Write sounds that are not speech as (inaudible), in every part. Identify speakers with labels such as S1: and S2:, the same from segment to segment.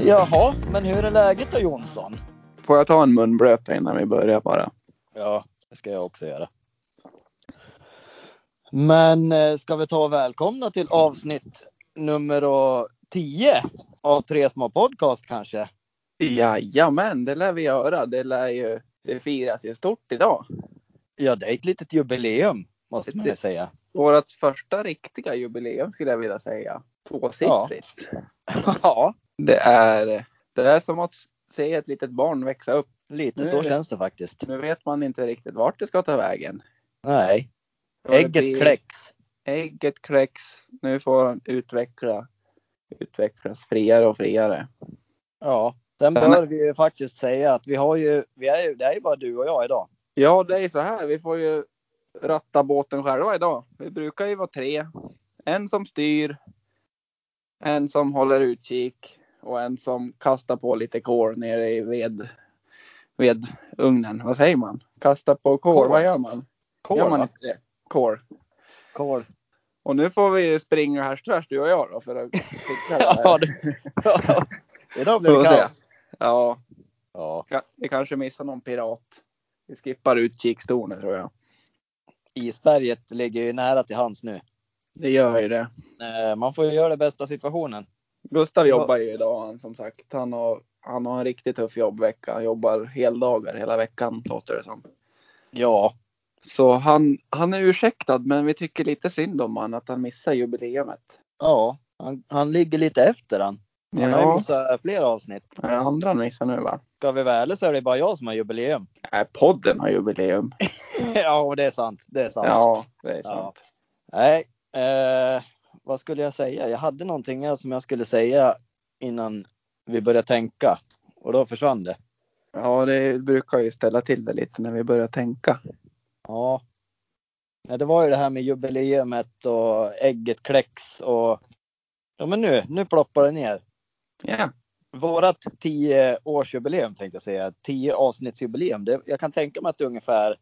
S1: Jaha, men hur är läget då Jonsson?
S2: Får jag ta en munblöta innan vi börjar bara?
S1: Ja, det ska jag också göra. Men eh, ska vi ta och välkomna till avsnitt nummer 10 av Tre små podcast kanske?
S2: Jajamän, det lär vi göra. Det lär ju, det firas ju stort idag.
S1: Ja, det är ett litet jubileum måste man ju säga. (laughs)
S2: Vårt första riktiga jubileum skulle jag vilja säga. Tvåsiffrigt.
S1: Ja,
S2: Det är, det är som att se ett litet barn växa upp.
S1: lite
S2: Nu är
S1: så
S2: det-
S1: känns det faktiskt.
S2: Nu vet man inte riktigt vart det ska ta vägen.
S1: Nej,
S2: Och det
S1: ägget
S2: blir-
S1: kläcks.
S2: Ägget kläcks. Nu får han utveckla, utvecklas friare och friare.
S1: Ja, sen
S2: Men-
S1: bör vi ju faktiskt säga att vi har ju, vi är ju, det är ju bara du och jag idag.
S2: Ja, det är så här. Vi får ju ratta båten själva idag. Vi brukar ju vara tre. En som styr, en som håller utkik och en som kastar på lite kol nere i ved, vedugnen. Vad säger man? Kasta på kol,
S1: Kol.
S2: vad gör man? gör
S1: Kål,
S2: man
S1: va?
S2: inte det? Kol.
S1: Kål. (laughs)
S2: Och nu får vi ju springa här tvärs du och jag då för att fixa det
S1: (laughs) Ja,
S2: här.
S1: det... idag blir det
S2: Så det.
S1: kaos.
S2: Ja,
S1: Ja.
S2: ka- vi kanske missar någon pirat. Vi skippar utkikstornet tror jag.
S1: isberget ligger ju nära till hands nu.
S2: Det gör ju det.
S1: Eh, Man får ju göra det bästa av situationen.
S2: Gustav jobbar ju idag han som sagt. Han har, han har en riktigt tuff jobbvecka. Han jobbar heldagar hela veckan låter det som.
S1: Ja,
S2: Så han, han är ursäktad men vi tycker lite synd om han att han missar jubileumet.
S1: ja. Han, han ligger lite efter han. Han har ju
S2: Ja,
S1: missat flera avsnitt.
S2: är det andra han missar nu va?
S1: Ska vi vara ärliga så är det bara jag som har jubileum. (laughs)
S2: Nej, podden har jubileum.
S1: ja, och det är sant. Det är sant.
S2: Ja, det är
S1: Ja.
S2: sant.
S1: Nej, eh, vad skulle jag säga? Jag hade någonting här som jag skulle säga innan vi började tänka. Och då försvann det.
S2: Ja, det brukar ju ställa till det lite när vi börjar tänka.
S1: Ja. ja det var ju det här med jubileumet och ägget kläcks och... Ja, men nu, nu ploppar det ner.
S2: Ja,
S1: Vårat 10-årsjubileum tänkte jag säga, 10 avsnittsjubileum. Det, jag kan tänka mig att det är ungefär,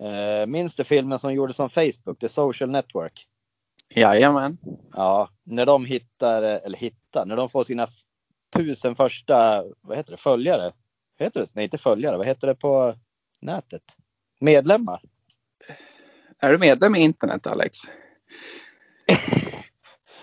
S1: eh, minns du filmen som gjordes som Facebook, The Social Network?
S2: jajamän.
S1: Ja, när de hittar, eh, eller hittar, när de får sina f- tusen första, vad heter det, följare? Heter det, nej inte följare, vad heter det på nätet? Medlemmar?
S2: Är du medlem i internet Alex?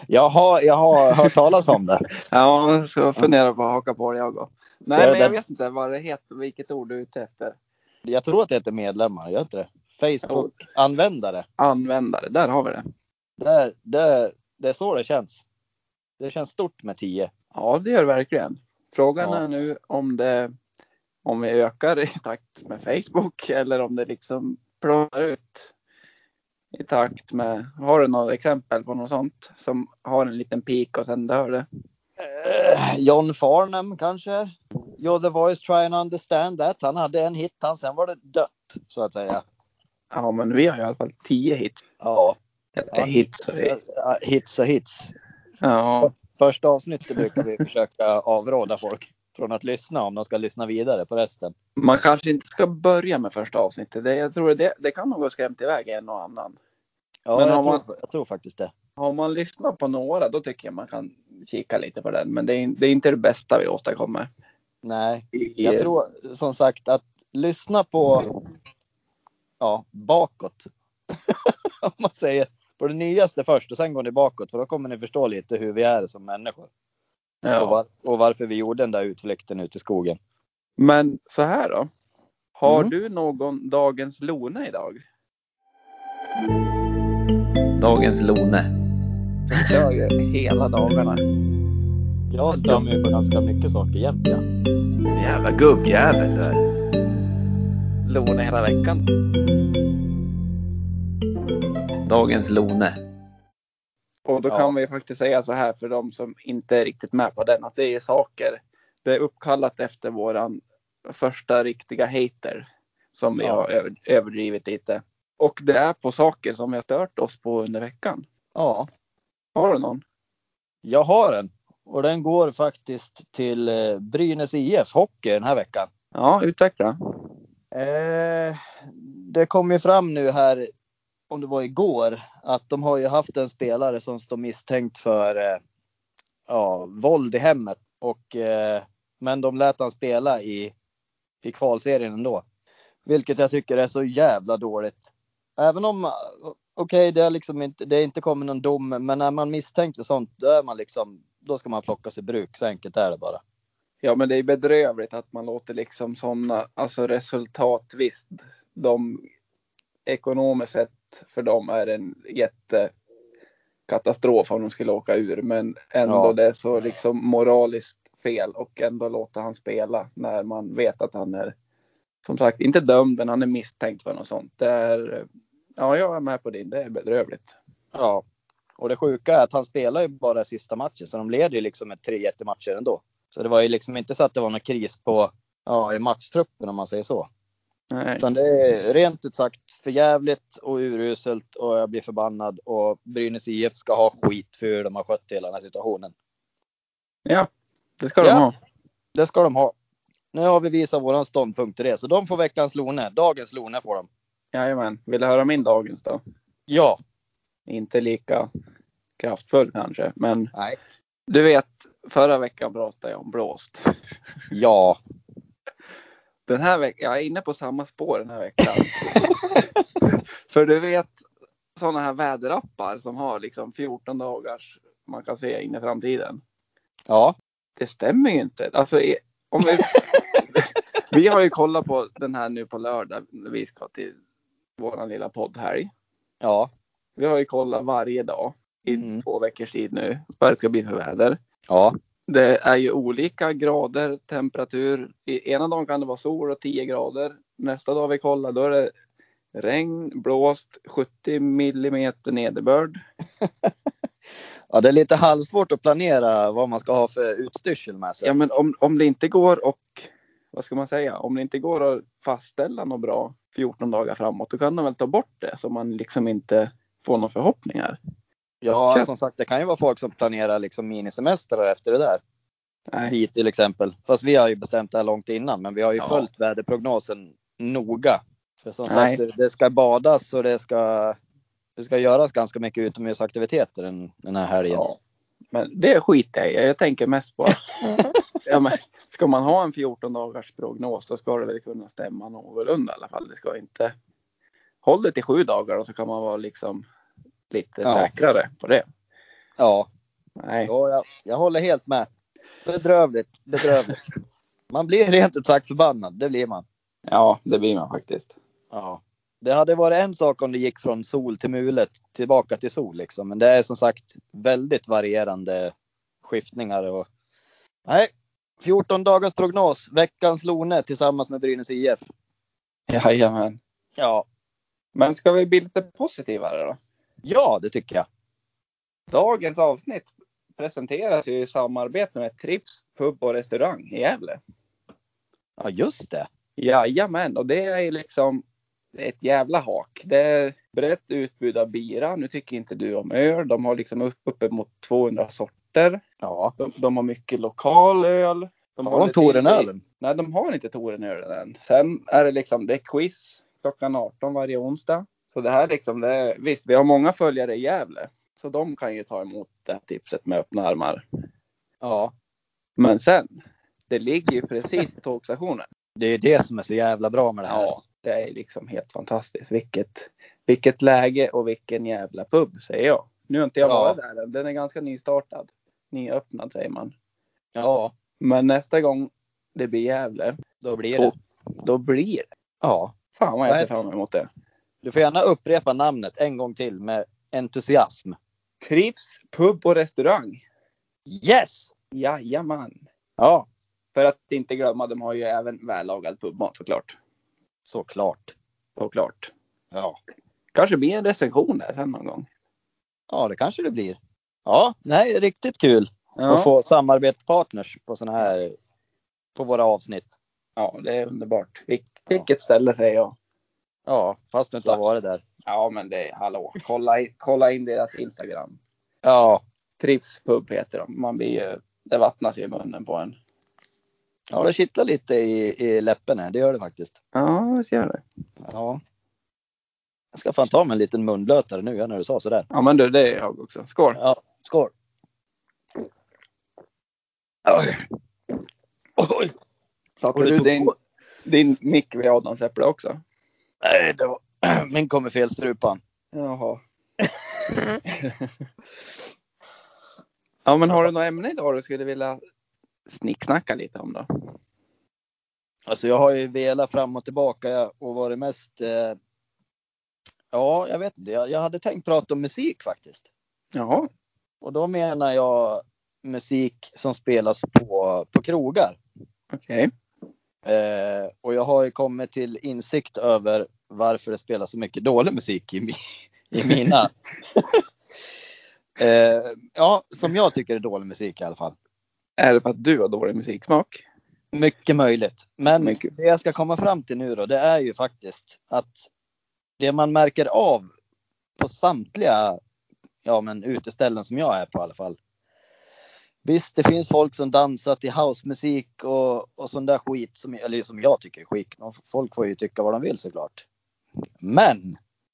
S1: Jag har, jag har hört talas om det.
S2: Ja, jag ska fundera på att haka på det jag går. Nej,
S1: Det-
S2: men jag
S1: det-
S2: vet inte vad det heter, vilket ord du är ute efter.
S1: Jag tror att det heter medlemmar, gör inte det? Facebook-användare.
S2: Användare, där har vi det.
S1: Det, det, det är så det känns. Det känns stort med 10.
S2: Ja, det gör det verkligen. Frågan
S1: Ja.
S2: är nu om det om vi ökar i takt med Facebook eller om det liksom planar ut i takt med. Har du något exempel på något sånt som har en liten peak och sen dör det?
S1: Eh, John Farnham kanske? You're the voice try and understand that. Han hade en hit, han, sen var det dött så att säga.
S2: Ja, men vi har ju i alla fall tio hits.
S1: Ja,
S2: Eller
S1: Ja.
S2: hits. och hits.
S1: eh, hits och hits.
S2: Ja,
S1: Första avsnittet brukar vi (laughs) försöka avråda folk från att lyssna om de ska lyssna vidare på resten.
S2: man kanske inte ska börja med första avsnittet. Det, jag tror det, det kan nog ha skrämt iväg en och annan.
S1: Ja,
S2: Men
S1: jag,
S2: om
S1: tror,
S2: man-
S1: jag tror faktiskt det.
S2: Har man lyssnat på några då tycker jag man kan kika lite på den. Men det är, det är inte det bästa vi åstadkommer.
S1: Nej,
S2: I-
S1: jag tror som sagt att lyssna på ja, bakåt. (laughs) om man säger på det nyaste först och sen går ni bakåt för då kommer ni förstå lite hur vi är som människor. Och,
S2: ja.
S1: var, och varför vi gjorde den där utflykten ut i skogen.
S2: Men så här då. Har
S1: Mm.
S2: du någon Dagens Lone idag? Dagens Lone. Jag kör ju hela dagarna.
S1: Jag stör mig på ganska mycket saker jämt. Ja.
S3: Jävla gubbjävel där.
S2: Lone hela veckan.
S3: Dagens Lone.
S2: Och då
S1: Ja.
S2: kan vi ju faktiskt säga så här för de som inte är riktigt med på den. Att det är saker. Det är uppkallat efter våran första riktiga hater. Som vi
S1: Ja.
S2: har över, överdrivit lite. Och det är på saker som vi har stört oss på under veckan.
S1: ja,
S2: Har du någon?
S1: jag har en. Och den går faktiskt till eh, Brynäs IF Hockey den här veckan.
S2: Ja, utveckla.
S1: Eh, det kom ju fram nu här, om det var igår, att de har ju haft en spelare som står misstänkt för eh, ja, våld i hemmet. Och, eh, men de lät han spela i, i kvalserien ändå. Vilket jag tycker är så jävla dåligt. Även om, eh, okej, det, är liksom inte- det är inte kommit någon dom, men när man misstänker sånt, då, är man liksom, då ska man plockas i bruk. Så enkelt är det bara.
S2: Ja, men det är bedrövligt att man låter liksom sådana, alltså resultat, visst, de ekonomiskt sett för dem är det en jättekatastrof om de skulle åka ur, men ändå
S1: Ja.
S2: det är så liksom moraliskt fel och ändå låta han spela när man vet att han är, som sagt, inte dömd, men han är misstänkt för något sånt. Det är, ja, jag är med på din, det är bedrövligt.
S1: Ja. Och det sjuka är att han spelar ju bara sista matchen, så de leder ju liksom med 3-1 i matcher ändå. Så det var ju liksom inte så att det var någon kris på, ja, i matchtruppen om man säger så.
S2: Nej.
S1: Utan det är rent ut sagt för jävligt och uruselt och jag blir förbannad och Brynäs IF ska ha skit för hur de har skött hela den här situationen.
S2: Ja, det ska
S1: Ja.
S2: de ha.
S1: Det ska de ha. Nu har vi visat våran ståndpunkt till det, så de får veckans Lone. Dagens Lone får de.
S2: Jajamän, vill du höra min dagens då?
S1: Ja.
S2: inte lika kraftfull kanske. Men
S1: Nej.
S2: du vet, förra veckan pratade jag om blåst.
S1: Ja.
S2: Den här veckan, jag är inne på samma spår den här veckan. För du vet sådana här väderappar som har liksom 14 dagars man kan se in i framtiden.
S1: Ja.
S2: Det stämmer ju inte. Alltså, i- om vi, vi har ju kollat på den här nu på lördag. när Vi ska till våran lilla poddhelg.
S1: Ja.
S2: Vi har ju kollat varje dag i
S1: Mm.
S2: två veckors tid nu vad det ska bli för väder.
S1: Ja.
S2: Det är ju olika grader temperatur. I ena dagen kan det vara sol och 10 grader. Nästa dag vi kollar då är det regn, blåst, 70 millimeter nederbörd.
S1: Ja, det är lite halvsvårt att planera vad man ska ha för utstyrsel med sig.
S2: Ja, men om, om det inte går och vad ska man säga? Om det inte går att fastställa något bra 14 dagar framåt, då kan de väl ta bort det så man liksom inte får några förhoppningar.
S1: Ja,
S2: Känns-
S1: som sagt, det kan ju vara folk som planerar liksom minisemestrar efter det där.
S2: Nej,
S1: Vi till exempel. Fast vi har ju bestämt det här långt innan, men vi har ju
S2: Ja.
S1: följt väderprognosen noga. För som
S2: Nej.
S1: sagt, det ska badas och det ska, det ska göras ganska mycket utomhusaktiviteter den, den här helgen. Ja.
S2: ja. Men det skiter jag i. Jag tänker mest på (laughs) att ja, men, ska man ha en 14 dagars prognos då ska det väl kunna stämma någorlunda i alla fall. Det ska inte... Håll det till sju dagar och så kan man vara liksom lite
S1: Ja.
S2: säkrare på det.
S1: Ja,
S2: Nej.
S1: jag, jag håller helt med. Bedrövligt, bedrövligt. Man blir rent ut sagt förbannad, det blir man.
S2: Ja, det blir man faktiskt.
S1: Ja. Det hade varit en sak om det gick från sol till mulet tillbaka till sol liksom. Men det är som sagt väldigt varierande skiftningar och nej. 14 dagars prognos, veckans Lone tillsammans med Brynäs IF.
S2: Jajamän.
S1: Ja,
S2: Men ska vi bli lite positivare då?
S1: ja, det tycker jag.
S2: Dagens avsnitt presenteras ju i samarbete med Trips pub och restaurang i Gävle.
S1: Ja, just det.
S2: Jajamän, och det är ju liksom ett jävla hak. Det är brett utbud av bira. Nu tycker inte du om öl. De har liksom upp, uppemot 200 sorter.
S1: Ja,
S2: De, de har mycket lokal öl.
S1: de
S2: har
S1: har de
S2: lite indie-
S1: Torenölen?
S2: Nej, de har inte Torenölen än. Sen är det liksom, det är quiz klockan 18 varje onsdag. Så det här liksom, det är, visst, vi har många följare i Gävle. Så de kan ju ta emot det här tipset med öppna armar.
S1: Ja,
S2: Men sen, det ligger ju precis i tågstationen.
S1: det är ju det som är så jävla bra med det här.
S2: Ja, det är liksom helt fantastiskt. Vilket, vilket läge och vilken jävla pub säger jag. Nu har inte jag
S1: Ja.
S2: varit där än. Den är ganska nystartad. Nyöppnad säger man.
S1: Ja,
S2: Men nästa gång det blir Gävle,
S1: då blir det.
S2: Och- då blir det.
S1: Ja,
S2: Fan vad jag ser
S1: Nej.
S2: fram emot det.
S1: du får gärna upprepa namnet en gång till med entusiasm.
S2: Trivs pub och restaurang.
S1: Yes!
S2: Jajamän.
S1: Ja,
S2: För att inte glömma, de har ju även vällagad pubmat såklart.
S1: såklart.
S2: Såklart.
S1: Ja.
S2: Kanske blir en recension där sen någon gång.
S1: Ja, det kanske det blir. Ja, nej, riktigt kul
S2: Ja,
S1: att få samarbetspartners på såna här på våra avsnitt.
S2: ja det är underbart. Vilk, vilket ställe säger jag.
S1: Ja, fast du inte har varit där.
S2: Ja, men det är hallå. Kolla, i- kolla in deras Instagram.
S1: Ja,
S2: Trivspub heter de. Man blir ju, det vattnas ju i munnen på en.
S1: ja det kittlar lite i, i läppen här, det gör det faktiskt.
S2: Ja, visst gör det.
S1: Ja. Jag ska fan ta mig en liten munblötare nu ja, när du sa sådär.
S2: Ja, men du, det är jag också. Skål!
S1: Ja, skål! Oj. Oj.
S2: Satte
S1: Och det
S2: du
S1: tog
S2: din,
S1: två-
S2: din mick vid Adams äpple också?
S1: Nej, det var... (clears throat) Min kom i fel strupan.
S2: Jaha. (laughs) ja, men har du något ämne idag du skulle vilja snicksnacka lite om då?
S1: Alltså jag har ju velat fram och tillbaka och varit mest... Eh... Ja, jag vet inte. Jag, jag hade tänkt prata om musik faktiskt.
S2: Jaha.
S1: Och då menar jag musik som spelas på, på krogar.
S2: Okej.
S1: Eh, och jag har ju kommit till insikt över varför det spelas så mycket dålig musik i, mi, i mina. eh, ja, som jag tycker är dålig musik i alla fall.
S2: Är det för att du har dålig musiksmak?
S1: Mycket möjligt. Men
S2: Mycket.
S1: det jag ska komma fram till nu då, det är ju faktiskt att det man märker av på samtliga ja, men uteställen som jag är på i alla fall. Visst, det finns folk som dansar till housemusik och, och sån där skit som, eller som jag tycker är skit. Och Folk får ju tycka vad de vill såklart. Men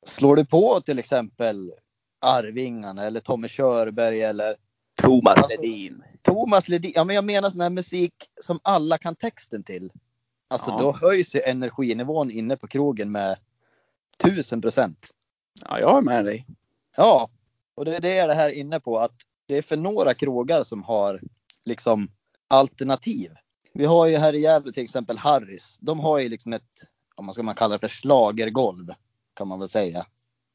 S1: slår du på till exempel Arvingarna eller Tommy Körberg eller
S2: Thomas
S1: Alltså-
S2: Ledin.
S1: Thomas Ledin, ja men jag menar sån här musik som alla kan texten till. Alltså
S2: Ja.
S1: då höjs ju energinivån inne på krogen med tusen procent.
S2: Ja, jag är med dig.
S1: Ja, och det är det jag är det här inne på att det är för några krogar som har liksom alternativ. Vi har ju här i Gävle till exempel Harris. De har ju liksom ett, om man ska man kalla det för slagergolv kan man väl säga.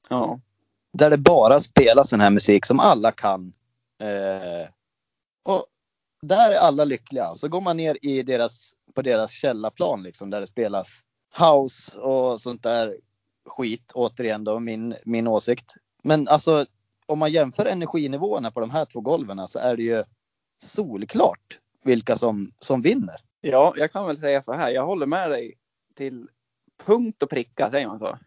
S2: Ja.
S1: Där det bara spelas sån här musik som alla kan. Eh, och där är alla lyckliga. Så går man ner i deras, på deras källarplan liksom, där det spelas house och sånt där skit. Återigen då, min, min åsikt. Men alltså, om man jämför energinivåerna på de här två golven så är det ju solklart vilka som, som vinner.
S2: ja, jag kan väl säga så här. Jag håller med dig till punkt och pricka, säger man så?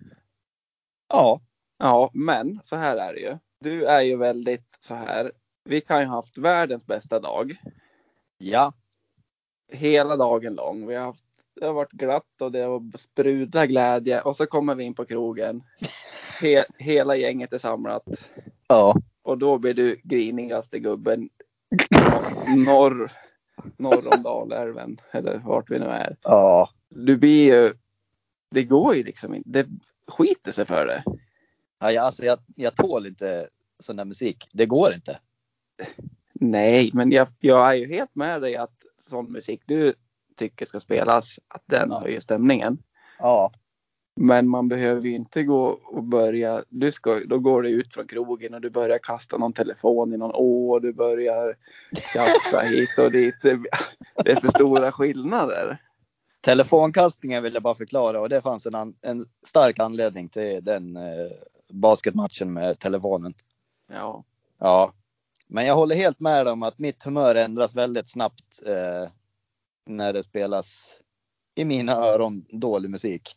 S1: Ja,
S2: Ja, men så här är det ju. Du är ju väldigt så här. Vi kan ju ha haft världens bästa dag.
S1: ja,
S2: Hela dagen lång. Vi har haft, det har varit glatt och det har sprudlat glädje. Och så kommer vi in på krogen. He, hela gänget är samlat.
S1: ja,
S2: Och då blir du grinigaste gubben norr, norr om Dalälven. Eller vart vi nu är.
S1: ja,
S2: Du blir ju... Det går ju liksom inte. Det skiter sig för det.
S1: ja. jag- Alltså jag, jag tål inte sån där musik. Det går inte.
S2: Nej, men jag, jag är ju helt med dig att sån musik du tycker ska spelas, att den
S1: Ja.
S2: höjer stämningen.
S1: Ja,
S2: Men man behöver ju inte gå och börja, du ska, då går du ut från krogen och du börjar kasta någon telefon i någon å och du börjar tjafsa hit och dit. Det, det är för stora skillnader.
S1: Telefonkastningen vill jag bara förklara och det fanns en, an- en stark anledning till den eh, basketmatchen med telefonen.
S2: Ja,
S1: Ja, men jag håller helt med om att mitt humör ändras väldigt snabbt eh, när det spelas i mina öron dålig musik.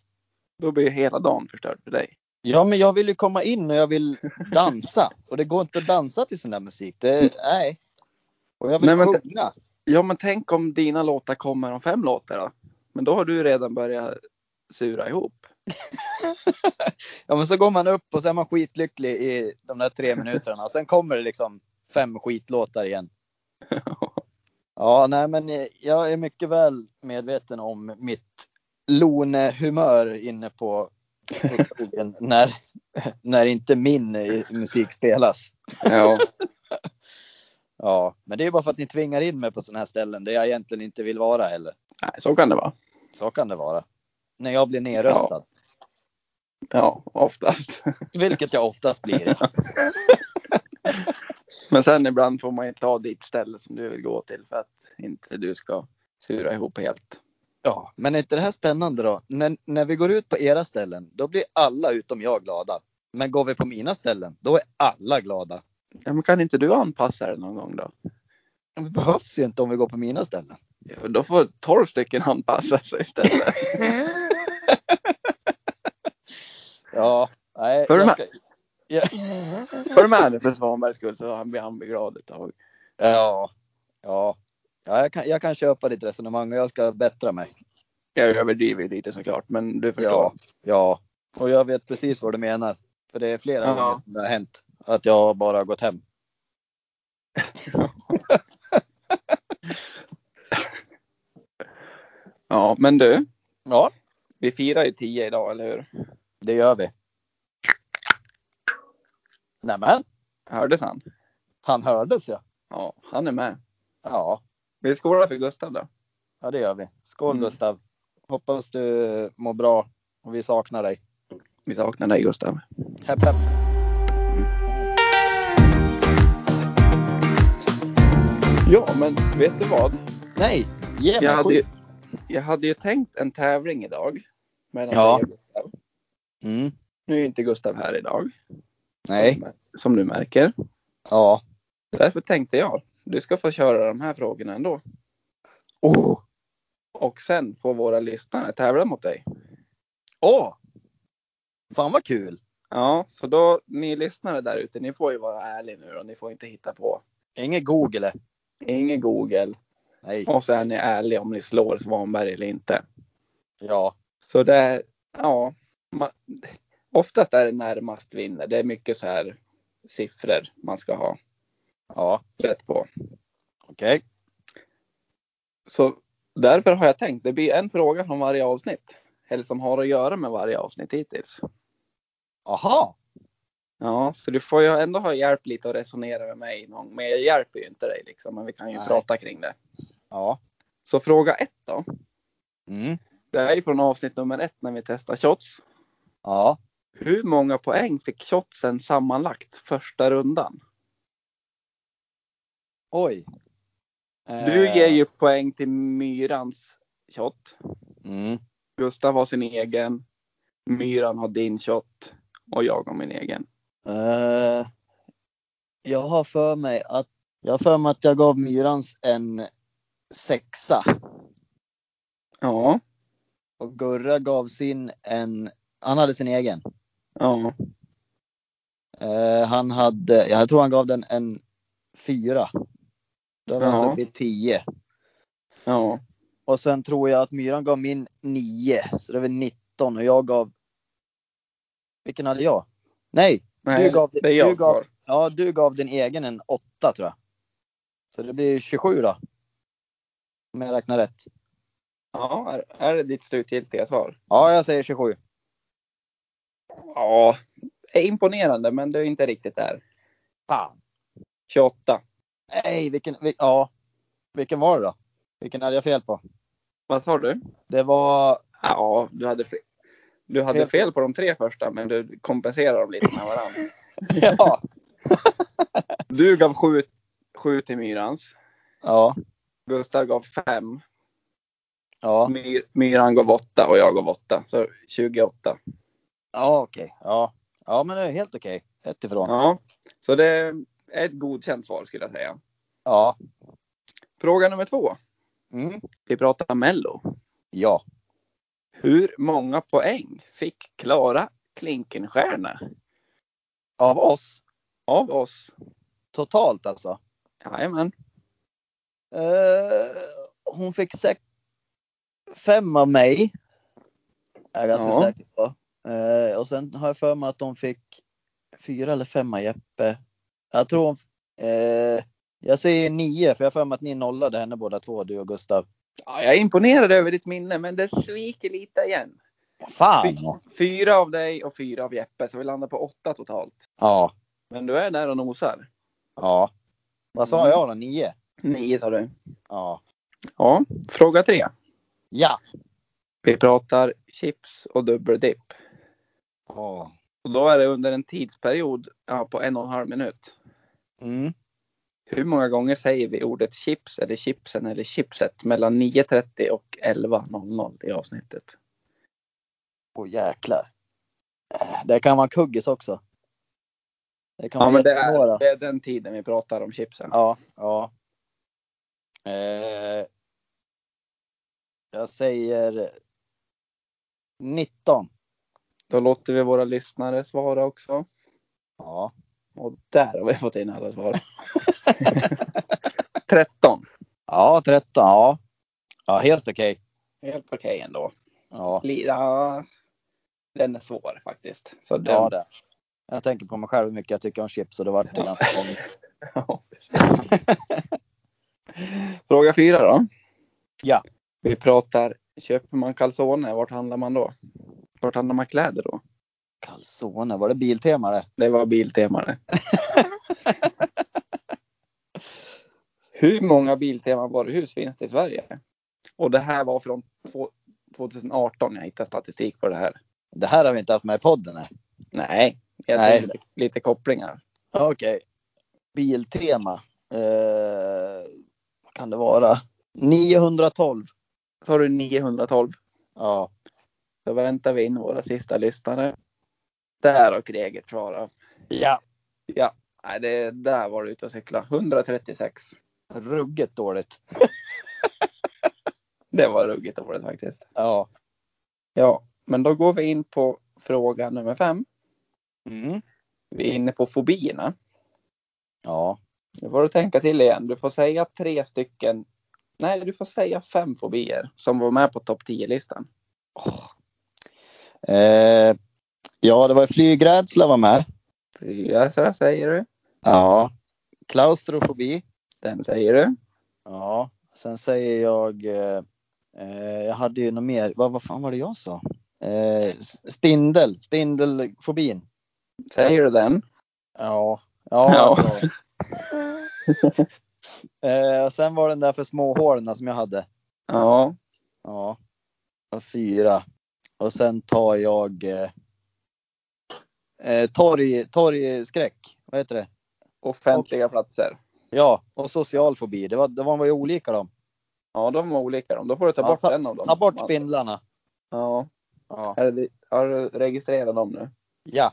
S2: då blir ju hela dagen förstörd för dig.
S1: Ja, men jag vill ju komma in och jag vill dansa och det går inte att dansa till sån där musik. Det, nej. Och jag vill
S2: Nej, men-
S1: sjunga.
S2: Ja, men tänk om dina låtar kommer om fem låtar då? Men då har du redan börjat sura ihop.
S1: Ja, men så går man upp och så är man skitlycklig i de där tre minuterna och sen kommer det liksom fem skitlåtar igen. Ja, nej, men eh, jag är mycket väl medveten om mitt Lone-humör inne på, på krogen när, när inte min eh, musik spelas.
S2: Ja.
S1: Ja, men det är bara för att ni tvingar in mig på sådana här ställen där jag egentligen inte vill vara heller.
S2: (laughs) Nej, så kan det vara.
S1: Så kan det vara. När jag blir nerröstad,
S2: Ja, oftast.
S1: vilket jag oftast blir.
S2: Men sen ibland får man ju ta ditt ställe som du vill gå till för att inte du ska sura ihop helt.
S1: Ja, men är inte det här spännande då? När, när vi går ut på era ställen, då blir alla utom jag glada. Men går vi på mina ställen, då är alla glada.
S2: Ja, men kan inte du anpassa det någon gång då?
S1: Det behövs ju inte om vi går på mina ställen. (laughs)
S2: Ja, Då får 12 stycken (laughs) anpassa sig istället.
S1: Ja, nej.
S2: För
S1: jag
S2: de
S1: ska- Ja,
S2: För med det för Svanbergs skull så han blir han blir glad ett tag.
S1: (laughs) ja, ja. ja jag, kan, jag kan köpa ditt resonemang och jag ska bättra mig.
S2: Jag överdriver ju lite såklart, men du förstår.
S1: Ja, ja. Och jag vet precis vad du menar. För det är flera
S2: Ja.
S1: gånger som det har hänt att jag bara har gått hem.
S2: Ja, men du.
S1: Ja,
S2: Vi firar ju 10 idag, eller hur?
S1: det gör vi. Nämen,
S2: Hördes han?
S1: han hördes ja.
S2: Ja, han är med.
S1: Ja,
S2: Vi skålar för Gustav då.
S1: ja det gör vi. Skål
S2: Mm.
S1: Gustav. Hoppas du mår bra och vi saknar dig.
S2: Vi saknar dig Gustav.
S1: Hepp, hepp.
S2: Ja, men vet du vad?
S1: Nej, ge mig
S2: Jag hade, ju,
S1: skit.
S2: jag hade ju tänkt en tävling idag. Mellan
S1: Ja.
S2: dig och Gustav.
S1: Mm.
S2: Nu är ju inte Gustav här idag.
S1: Nej,
S2: Som du märker.
S1: ja.
S2: Därför tänkte jag. Du ska få köra de här frågorna ändå.
S1: Åh,
S2: Och sen får våra lyssnare tävla mot dig.
S1: åh! Fan vad kul.
S2: Ja, så då ni lyssnare där ute, ni får ju vara ärliga nu och ni får inte hitta på.
S1: Inget Google.
S2: Ingen Google.
S1: Nej,
S2: Och så är ni ärliga om ni slår Svanberg eller inte.
S1: ja.
S2: Så det är, ja. Man, oftast är det närmast vinner. Det är mycket så här siffror man ska ha
S1: Ja,
S2: rätt på.
S1: okej.
S2: Så därför har jag tänkt, det blir en fråga från varje avsnitt. Eller som har att göra med varje avsnitt hittills.
S1: Aha.
S2: Ja, så du får ju ändå ha hjälp lite att resonera med mig någon. Men jag hjälper ju inte dig liksom, men vi kan ju
S1: Nej.
S2: prata kring det.
S1: Ja.
S2: Så fråga ett då.
S1: Mm.
S2: Det är ju från avsnitt nummer ett när vi testar shots.
S1: Ja.
S2: Hur många poäng fick shotsen sammanlagt första rundan?
S1: Oj.
S2: Du
S1: Eh,
S2: ger ju poäng till Myrans shot.
S1: Mm.
S2: Gustav har sin egen. Myran har din shot. Och jag har min egen.
S1: Eh, jag har för mig att jag har för mig att jag gav Myrans en sexa
S2: Ja,
S1: och Gurra gav sin en. Han hade sin egen.
S2: ja,
S1: Eh, han hade. Jag tror han gav den en fyra. Då var han
S2: Ja.
S1: uppe i tio
S2: ja,
S1: och sen tror jag att Myran gav min nio så det var 19 och jag gav. Vilken hade jag? Nej,
S2: Nej,
S1: du gav,
S2: det är jag
S1: du gav,
S2: kvar.
S1: ja, du gav din egen en åtta tror jag. Så det blir 27 då. Om jag räknar rätt.
S2: Ja, är, är det ditt slutgiltiga svar?
S1: Ja, jag säger 27.
S2: Ja, det är imponerande men du är inte riktigt där.
S1: Fan.
S2: 28.
S1: Nej, vilken, vil, ja. vilken var det då? Vilken hade jag fel på?
S2: Vad sa du?
S1: Det var, (laughs)
S2: Ja, du hade fel. Du hade
S1: Fel.
S2: fel på de tre första, men du kompenserar dem lite med varandra.
S1: ja.
S2: Du gav sju, sju till Myrans.
S1: Ja,
S2: Gustav gav fem.
S1: ja,
S2: Myr, Myran gav åtta och jag gav åtta. Så 28.
S1: ja okej. Ja. ja, men det är helt okej. Ett ifrån.
S2: Ja, så det är ett godkänt svar skulle jag säga.
S1: Ja.
S2: Fråga nummer två.
S1: Mm.
S2: Vi pratar Mello.
S1: Ja.
S2: Hur många poäng fick Klara Klinkenstierna
S1: Av oss
S2: av oss?
S1: totalt alltså.
S2: Jajamän.
S1: Eh, hon fick sex, fem av mig. Är jag ganska
S2: Ja.
S1: säker på. Eh, och sen har jag för mig att de fick fyra eller fem av Jeppe. Jag tror hon, eh, Jag säger nio, för jag har för mig att ni nollade henne båda två, du och Gustav.
S2: Ja, jag är imponerad över ditt minne, men det sviker lite igen.
S1: Fan!
S2: Fy- Fyra av dig och fyra av Jeppe, så vi landar på åtta totalt.
S1: Ja,
S2: Men du är där och nosar.
S1: ja. Vad sa
S2: Mm.
S1: jag då? Nio?
S2: Nio sa du.
S1: Ja.
S2: Ja, fråga tre.
S1: Ja!
S2: Vi pratar chips och dubbeldipp.
S1: Åh.
S2: Och då är det under en tidsperiod ja, på en och en halv minut.
S1: Mm.
S2: Hur många gånger säger vi ordet chips eller chipsen eller chipset mellan 9.30 och 11.00 i avsnittet?
S1: Åh jäklar. Eh, Det kan vara kuggis också. Det kan
S2: Ja,
S1: vara
S2: men det är,
S1: jättenåra.
S2: det är den tiden vi pratar om chipsen.
S1: Ja, ja. Eh, jag säger 19.
S2: Då låter vi våra lyssnare svara också.
S1: Ja.
S2: Och där har vi fått in alla svar. 13.
S1: Ja, 13. Ja, ja helt okej.
S2: Helt okej ändå.
S1: Ja,
S2: Lira. Den är svår faktiskt. Så den,
S1: ja det. Jag tänker på mig själv hur mycket jag tycker om chips och det vart det
S2: Ja.
S1: ganska långt.
S2: (laughs) Ja. Fråga fyra då.
S1: Ja.
S2: Vi pratar Köper man calzone, vart handlar man då? Vart handlar man kläder då?
S1: Calzone, var det Biltema det?
S2: Det var
S1: (laughs)
S2: Biltema det. Hur många Biltema varuhus finns det i Sverige? Och det här var från två- 2018 jag hittade statistik på det här.
S1: Det här har vi inte haft med i podden. nej.
S2: Nej, jag
S1: Nej.
S2: tänkte lite kopplingar.
S1: Okej. Biltema. Eh, vad kan det vara? 912.
S2: Så har du 912.
S1: Ja.
S2: Så väntar vi in våra sista lyssnare. Där har Kreger svarat.
S1: ja.
S2: Nej, det, där var du ute och cykla. 136.
S1: Ruggigt dåligt.
S2: Det var ruggigt dåligt faktiskt.
S1: Ja.
S2: Ja, men då går vi in på fråga nummer fem.
S1: Mm.
S2: Vi är inne på fobierna.
S1: Ja.
S2: Nu får du tänka till igen. Du får säga tre stycken. Nej, du får säga fem fobier som var med på topp 10-listan.
S1: Åh. Eh, ja, det var flygrädsla var med.
S2: Fyra så här säger du.
S1: Ja. Klaustrofobi.
S2: Den säger du.
S1: Ja. Sen säger jag... eh, Eh, jag hade ju något mer. Vad, vad fan var det jag sa? Eh, s- spindel. Spindelfobin.
S2: Säger du den?
S1: Ja. Ja.
S2: Ja.
S1: bra. (laughs) eh, sen var den där för småhålorna som jag hade.
S2: Ja.
S1: Ja. Och fyra. Och sen tar jag eh, eh, torg, torgskräck. Vad heter det?
S2: Offentliga platser.
S1: Ja, och social fobi. Det var, det var, var ju olika de.
S2: Ja, de var olika de. Då får du ta
S1: Ja,
S2: bort en av dem.
S1: Ta bort spindlarna.
S2: Ja.
S1: Ja.
S2: Är det, har du registrerat dem nu?
S1: Ja.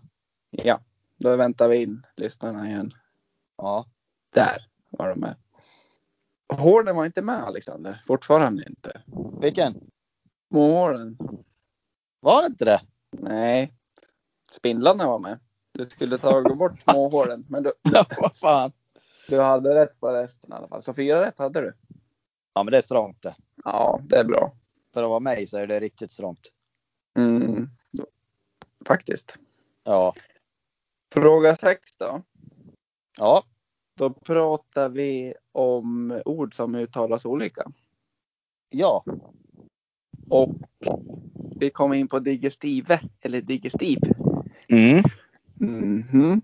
S2: Ja. Då väntar vi in lyssnarna igen.
S1: ja.
S2: Där var de med. Hården var inte med Alexander. Fortfarande inte.
S1: Vilken?
S2: Småhåren.
S1: Var det inte det?
S2: Nej. Spindlarna var med. Du skulle ta bort småhåren. Men du,
S1: (laughs) Ja, vad fan.
S2: du hade rätt på resten i alla fall. Så fyra rätt hade du.
S1: Ja, men det är strångt det.
S2: Ja, det är bra.
S1: För att vara mig så är det riktigt strångt.
S2: Mm. Faktiskt.
S1: Ja.
S2: Fråga sex då.
S1: Ja.
S2: Då pratar vi om ord som uttalas olika.
S1: Ja.
S2: Och vi kommer in på digestive eller digestiv.
S1: Mm.
S2: Mhm.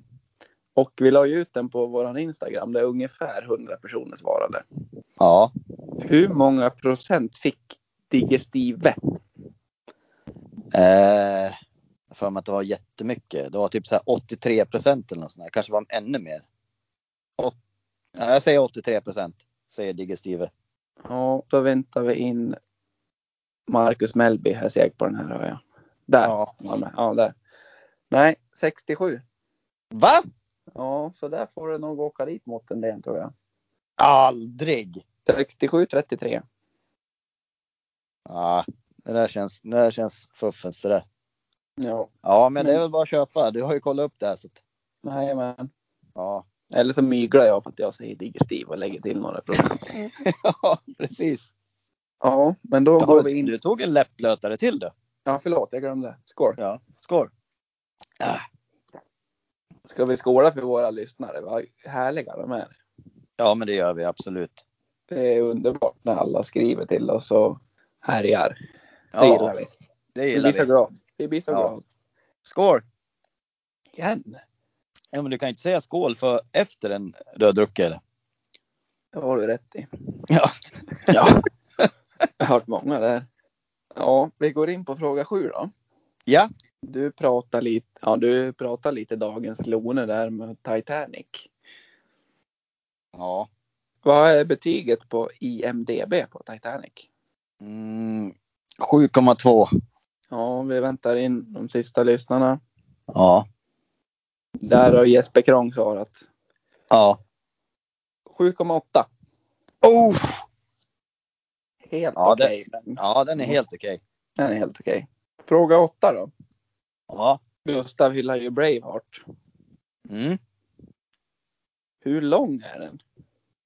S2: Och vi la ju ut den på våran Instagram där ungefär 100 personer svarade.
S1: Ja.
S2: Hur många procent fick digestive?
S1: Eh, jag har för mig att det var jättemycket. Det var typ så här 83 procent eller något sånt där. Kanske var det ännu mer. Åt, nej, jag säger 83 procent, säger Digestive.
S2: Ja, då väntar vi in Marcus Melby. Jag är säker på den här. Har jag. Där. Ja.
S1: Ja.
S2: ja, där. Nej, 67.
S1: Va?
S2: Ja, så där får du nog åka dit mot en del tror jag.
S1: Aldrig!
S2: 67, 33.
S1: Ja, det där känns, det där känns fuffens det där.
S2: Ja,
S1: Ja, men det
S2: Mm.
S1: är väl bara att köpa. Du har ju kollat upp det här. Så att,
S2: nej men.
S1: ja. (laughs)
S2: Eller så myglar jag för att jag säger digestiv och lägger till några procent.
S1: ja, precis.
S2: Ja, men då går vi in.
S1: Du tog en läpplötare till du.
S2: Ja, förlåt, jag glömde. Skål.
S1: Ja. Skål!
S2: Ska vi skåla för våra lyssnare? Vad härliga de är.
S1: Ja, men det gör vi absolut.
S2: Det är underbart när alla skriver till oss och härjar. Det gillar
S1: Ja,
S2: vi.
S1: det
S2: Vi blir så
S1: gillar vi.
S2: glada. Vi blir så
S1: Ja.
S2: glada.
S1: Skål!
S2: Igen?
S1: Ja, men du kan ju inte säga skål för efter en du har druckit eller?
S2: Det har du rätt i.
S1: Ja. ja.
S2: Jag har hört många där. Ja, vi går in på fråga sju då.
S1: Ja.
S2: Du pratar lite, ja, du pratar lite dagens Lone där med Titanic.
S1: Ja.
S2: Vad är betyget på IMDB på Titanic?
S1: Mm, 7,2.
S2: Ja, vi väntar in de sista lyssnarna.
S1: Ja.
S2: Där har Jesper Krong svarat.
S1: Ja.
S2: 7,8.
S1: Oh!
S2: Helt
S1: Ja, det-
S2: okej. men
S1: Ja, den är helt okej.
S2: Den är helt okej. Fråga åtta då.
S1: Ja.
S2: Gustav hyllar ju Braveheart.
S1: Mm.
S2: Hur lång är den?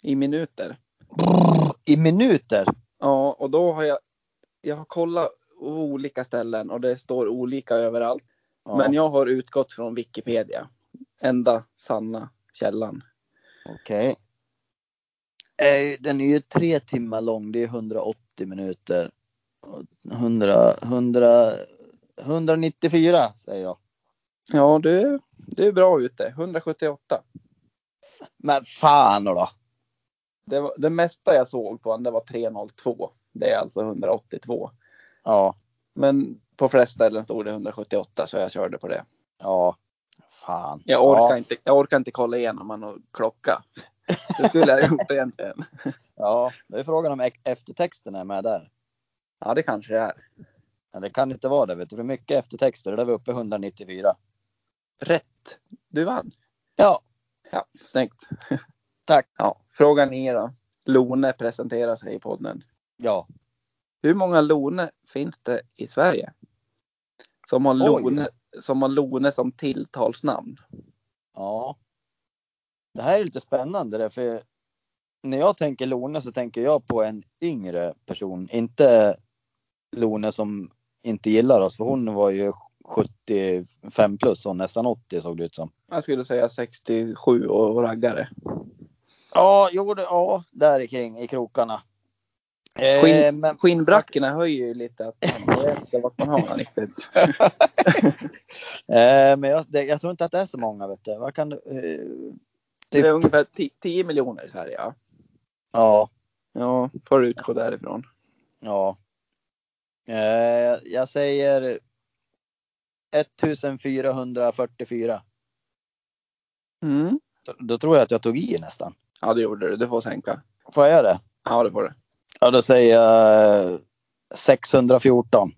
S2: I minuter?
S1: Brrr, I minuter?
S2: Ja, och då har jag, jag har kollat olika ställen och det står olika överallt.
S1: Ja.
S2: Men jag har utgått från Wikipedia. Enda sanna källan.
S1: Okej. Eh, Den är ju tre timmar lång. Det är 180 minuter. 100, 100, 194 säger jag.
S2: Ja, du, du är bra ute. 178.
S1: Men fan då.
S2: Det, var, det mesta jag såg på honom, det var 302. Det är alltså 182.
S1: Ja,
S2: Men på flest ställen stod det 178 så jag körde på det.
S1: ja. Fan.
S2: Jag orkar,
S1: Ja,
S2: inte, jag orkar inte kolla igenom han och klocka. Det skulle jag gjort egentligen.
S1: ja, det är frågan om e- eftertexten är med där.
S2: Ja, det kanske det är.
S1: Men det kan inte vara det. Vet du. Det är mycket eftertexter. Det där var uppe i 194.
S2: Rätt. Du vann.
S1: Ja,
S2: Ja, snyggt. (laughs)
S1: Tack.
S2: Ja, fråga ni då. Lone presenterar sig i podden.
S1: ja.
S2: Hur många Lone finns det i Sverige? Som har
S1: Oj.
S2: Lone som, har Lone som tilltalsnamn.
S1: Ja. Det här är lite spännande där, för när jag tänker Lone så tänker jag på en yngre person, inte Lone som inte gillar oss, för hon var ju 75 plus och nästan 80 såg det ut som.
S2: Jag skulle säga 67 och raggare.
S1: Ja, jo, det, ja, där i kring i krokarna. Eh,
S2: Skinn-
S1: men
S2: Skinnbrackorna höjer ju lite att man vet inte vart man har den riktigt.
S1: eh, men jag, det, jag tror inte att det är så många, vet du. Vad kan du eh,
S2: Det är ungefär 10 miljoner i Sverige. Ja.
S1: ja.
S2: Ja, får utgå därifrån.
S1: Ja. Eh, jag säger 1444.
S2: Mm.
S1: Då tror jag att jag tog i nästan.
S2: Ja, det gjorde du. Du får sänka.
S1: Får jag göra det?
S2: Ja, det får du.
S1: Ja, då säger jag eh, 614.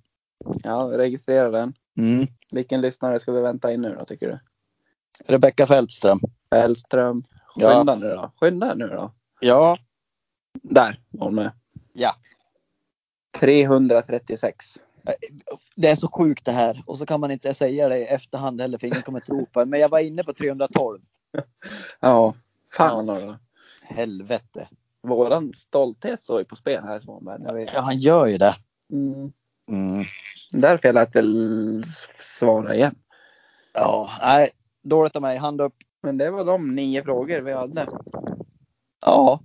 S2: Ja, vi registrerar den.
S1: Mm.
S2: Vilken lyssnare ska vi vänta in nu då, tycker du?
S1: Rebecka Fältström.
S2: Fällström.
S1: Ja.
S2: Skynda nu då. Skynda nu då.
S1: Ja.
S2: Där var hon med.
S1: Ja.
S2: 336.
S1: Det är så sjukt det här. Och så kan man inte säga det i efterhand heller för ingen kommer tro på en. Men jag var inne på 312.
S2: Ja, fan då.
S1: Helvete.
S2: Våran stolthet står ju på spel här Svanberg. Jag vet.
S1: Ja, han gör ju det.
S2: Mm.
S1: Mm.
S2: Därför jag lät l- svara igen.
S1: Ja, nej. Dåligt av mig. Hand upp.
S2: Men det var de nio frågor vi hade.
S1: Ja.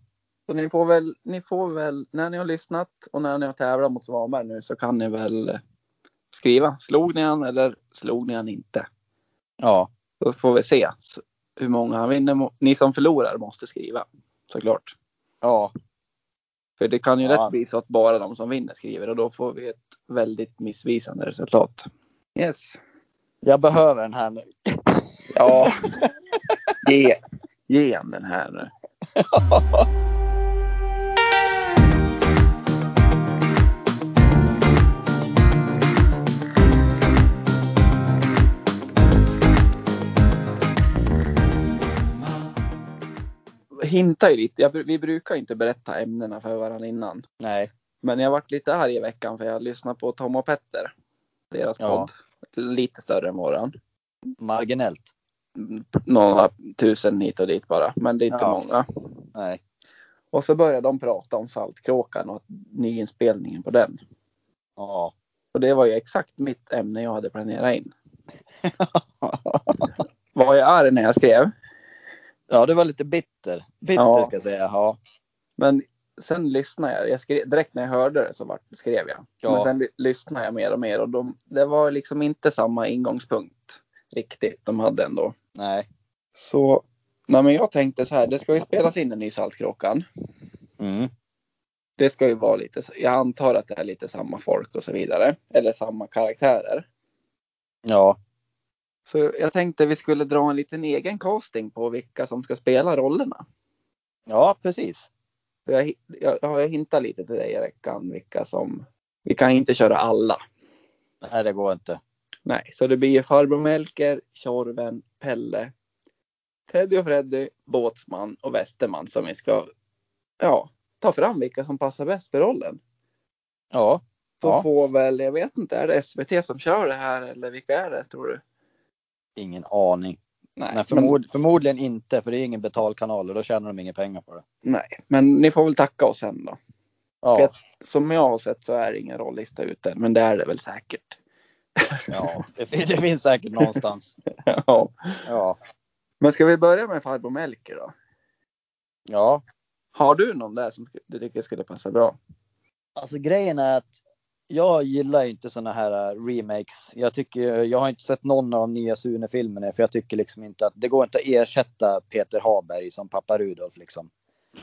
S2: Så ni får väl, ni får väl, när ni har lyssnat och när ni har tävlat mot Svanberg nu så kan ni väl eh, skriva. Slog ni han eller slog ni han inte?
S1: Ja.
S2: Då får vi se s- hur många han vinner. mot. Ni som förlorar måste skriva såklart.
S1: Ja.
S2: För det kan ju
S1: Ja.
S2: lätt bli så att bara de som vinner skriver och då får vi ett väldigt missvisande resultat. Yes.
S1: Jag behöver den här nu.
S2: Ja. (laughs) Ge, ge han den här nu. Hinta ju lite. Jag, bru- vi brukar ju inte berätta ämnena för varandra innan.
S1: Nej.
S2: Men jag varit lite arg i veckan för jag lyssnade på Tom och Petter. Deras
S1: Ja.
S2: podd. Lite större än våran.
S1: Marginellt.
S2: Mm, Några tusen hit och dit bara. Men det är inte
S1: Ja.
S2: många.
S1: Nej.
S2: Och så började de prata om Saltkråkan och nyinspelningen på den.
S1: Ja.
S2: Och det var ju exakt mitt ämne jag hade
S1: (laughs)
S2: planerat in. Var jag arg när jag skrev.
S1: Ja, du var lite bitter. Bitter
S2: Ja.
S1: ska jag säga. Ja.
S2: Men sen lyssnade jag. jag skrev, direkt när jag hörde det så vart, skrev jag.
S1: Ja.
S2: Men sen ly- lyssnade jag mer och mer och de, det var liksom inte samma ingångspunkt riktigt de hade ändå.
S1: Nej.
S2: Så nej men jag tänkte så här, det ska ju spelas in en ny Saltkråkan.
S1: Mm.
S2: Det ska ju vara lite, så- jag antar att det är lite samma folk och så vidare. Eller samma karaktärer.
S1: Ja.
S2: Så jag tänkte vi skulle dra en liten egen casting på vilka som ska spela rollerna.
S1: Ja, precis.
S2: För Jag, hi- jag, jag har hintat lite till dig i veckan vilka som... Vi kan inte köra alla.
S1: Nej, det går inte.
S2: Nej, så det blir ju Farbror Melker, Tjorven, Pelle, Teddy och Freddy, Båtsman och Westerman som vi ska ja, ta fram vilka som passar bäst för rollen.
S1: Ja.
S2: Så
S1: Ja.
S2: får väl, jag vet inte, är det SVT som kör det här eller vilka är det tror du?
S1: Ingen aning. Nej,
S2: men-
S1: förmod Förmodligen inte, för det är ingen betalkanal och då tjänar de inga pengar på det.
S2: nej, men ni får väl tacka oss sen då.
S1: Ja.
S2: Fet. Som jag har sett så är det ingen rollista ute, men det är det väl säkert.
S1: ja. Det, fin- det finns säkert någonstans.
S2: (laughs) ja.
S1: Ja.
S2: Men ska vi börja med Farbror Melker då?
S1: Ja.
S2: Har du någon där som du tycker skulle passa bra?
S1: Alltså grejen är att jag gillar ju inte såna här eh, remakes. Jag tycker ju- jag har inte sett någon av de nya Sune-filmerna för jag tycker liksom inte att det går inte att ersätta Peter Haberg som pappa Rudolf liksom.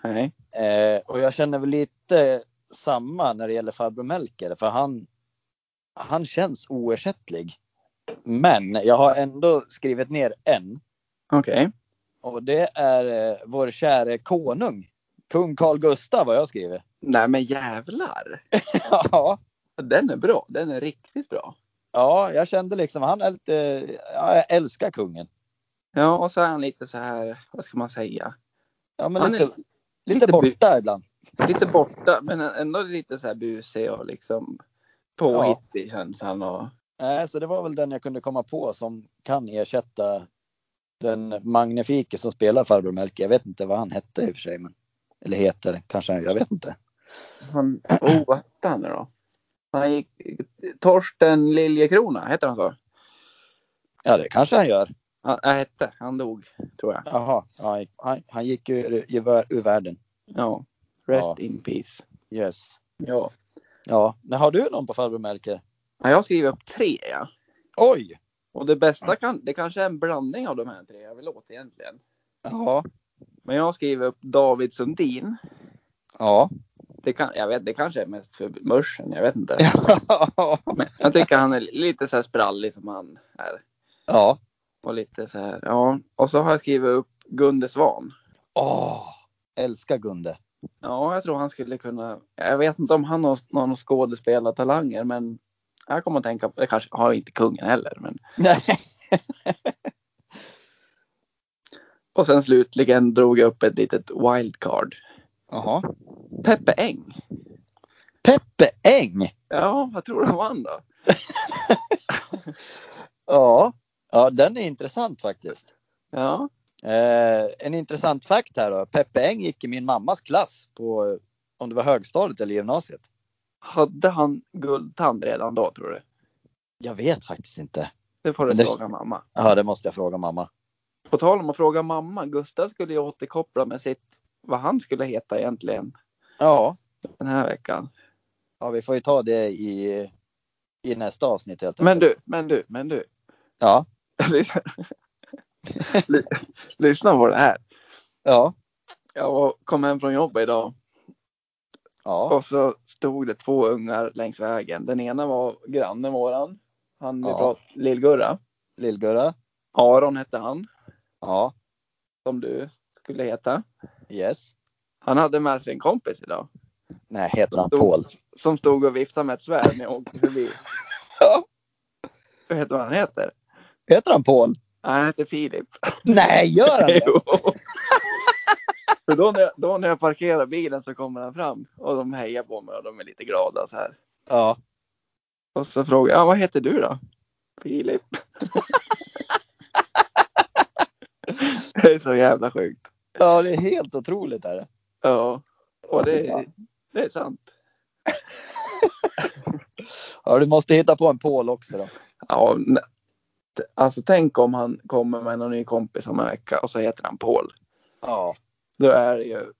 S2: Nej.
S1: Eh, och jag känner väl lite samma när det gäller farbror Melker för han, han känns oersättlig. Men jag har ändå skrivit ner en
S2: Okej.
S1: och det är eh, vår käre konung. Kung Carl Gustav har jag skrivit.
S2: Nej men jävlar.
S1: ja.
S2: Den är bra. Den är riktigt bra.
S1: Ja, jag kände liksom, han är lite, ja, jag älskar kungen.
S2: Ja, och så är han lite så här, vad ska man säga?
S1: Ja, men
S2: Han
S1: lite,
S2: är
S1: lite,
S2: lite
S1: borta ibland.
S2: Lite borta, men ändå lite så här busig och liksom påhittig känns han. Och...
S1: Nej, så det var väl den jag kunde komma på som kan ersätta den magnifike som spelar farbror Melker. Jag vet inte vad han hette i och för sig, men, eller heter kanske, jag vet inte.
S2: Han, oh, vad hette han nu då? Han gick, Torsten Liljekrona, heter han så?
S1: Ja, det kanske han gör.
S2: Han, äh, hette, han dog, tror jag.
S1: Jaha, ja, han, han, han gick ju ur, ur, ur världen.
S2: Ja. Rest
S1: Ja.
S2: in peace.
S1: Yes.
S2: Ja.
S1: Ja, men har du någon på farbror Melker?
S2: Ja, Jag skriver upp tre, ja.
S1: Oj!
S2: Och det bästa kan, det kanske är en blandning av de här tre jag vill åt egentligen.
S1: Ja.
S2: Men jag skriver upp David Sundin.
S1: Ja. (laughs)
S2: Det, kan, jag vet, det kanske är mest för mörsen, jag vet inte.
S1: ja.
S2: Men jag tycker han är lite så här sprallig som han är.
S1: Ja.
S2: Och lite så här, ja. Och så har jag skrivit upp Gunde Svan.
S1: Åh! Älskar Gunde.
S2: Ja, jag tror han skulle kunna. Jag vet inte om han har någon skådespelartalanger, men jag kommer att tänka på, det kanske har inte kungen heller. Men...
S1: Nej.
S2: Och sen slutligen drog jag upp ett litet wildcard.
S1: Jaha.
S2: Peppe Eng.
S1: Peppe Eng!
S2: Ja, vad tror du han vann då?
S1: Ja. ja, den är intressant faktiskt.
S2: Ja,
S1: Eh, en intressant fakt här då. Peppe Eng gick i min mammas klass på, eh, om det var högstadiet eller gymnasiet.
S2: hade han guldtand redan då tror du?
S1: Jag vet faktiskt inte.
S2: Det får du
S1: Men det-
S2: fråga mamma.
S1: Ja, det måste jag fråga mamma.
S2: På tal om att fråga mamma, Gustav skulle ju återkoppla med sitt, vad han skulle heta egentligen
S1: Ja,
S2: den här veckan.
S1: ja vi får ju ta det i, i nästa avsnitt helt
S2: Men
S1: enkelt.
S2: du, men du, men du. (laughs)
S1: Ja,
S2: Lyssna- (laughs) Ly- Lyssna på det här.
S1: ja,
S2: Jag var- kom hem från jobbet idag
S1: ja,
S2: och så stod det två ungar längs vägen. Den ena var grannen våran, han vi
S1: Ja.
S2: pratade Lill-Gurra.
S1: Lill-Gurra.
S2: Aron hette han,
S1: Ja,
S2: som du skulle heta.
S1: yes.
S2: Han hade med sig en kompis idag
S1: Nej, heter han
S2: Stod-
S1: Paul?
S2: som stod och viftade med ett svärd när jag åkte förbi.
S1: Ja.
S2: Jag vet du vad han heter?
S1: Heter han Paul?
S2: Han heter Filip.
S1: Nej, gör han det?
S2: (laughs) Jo. För då när, jag, då när jag parkerar bilen så kommer han fram och de hejar på mig och de är lite glada så här.
S1: Ja.
S2: Och så frågar jag, "Ja, vad heter du då?
S1: (laughs)
S2: Filip. det är så jävla sjukt.
S1: ja, det är helt otroligt. Är det.
S2: Ja, och det, det är sant.
S1: Ja, du måste hitta på en Paul också då.
S2: Ja, ne- alltså tänk om han kommer med någon ny kompis om en vecka och så heter han Paul.
S1: Ja,
S2: Då är det ju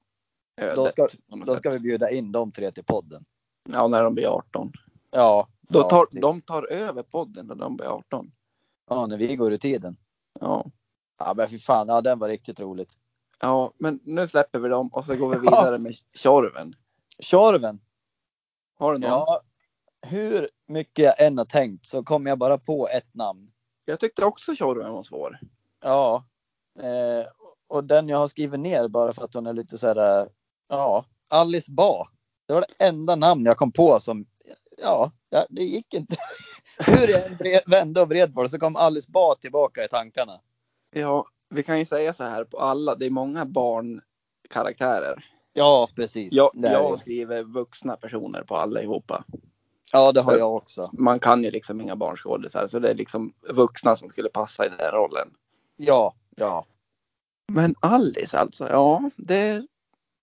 S2: ödet.
S1: Då ska-
S2: på något
S1: då ska
S2: sätt.
S1: vi bjuda in de tre till podden.
S2: Ja, när de blir 18.
S1: Ja,
S2: Då
S1: ja,
S2: tar,
S1: precis.
S2: de tar över podden när de blir 18.
S1: ja, när vi går ur tiden.
S2: Ja.
S1: Ja, men fy fan, ja, den var riktigt roligt.
S2: ja, men nu släpper vi dem och
S1: (laughs)
S2: så går vi vidare med Tjorven.
S1: Tjorven.
S2: Har du någon?
S1: Ja, hur mycket jag än har tänkt så kom jag bara på ett namn.
S2: Jag tyckte också Tjorven var svår.
S1: Ja, eh, och den jag har skrivit ner bara för att hon är lite så här. eh, Ja, Alice Ba. Det var det enda namn jag kom på som. Ja, ja, det gick inte. (laughs) Hur jag än vred- vände och vred på det så kom Alice Ba tillbaka i tankarna.
S2: Ja, vi kan ju säga så här på alla. Det är många barnkaraktärer.
S1: Ja, precis.
S2: Jag,
S1: Det är det.
S2: jag skriver vuxna personer på allihopa.
S1: Ja, det har jag också.
S2: man kan ju liksom inga barnskådisar så det är liksom vuxna som skulle passa i den här rollen.
S1: Ja, ja.
S2: Men Alice alltså, ja det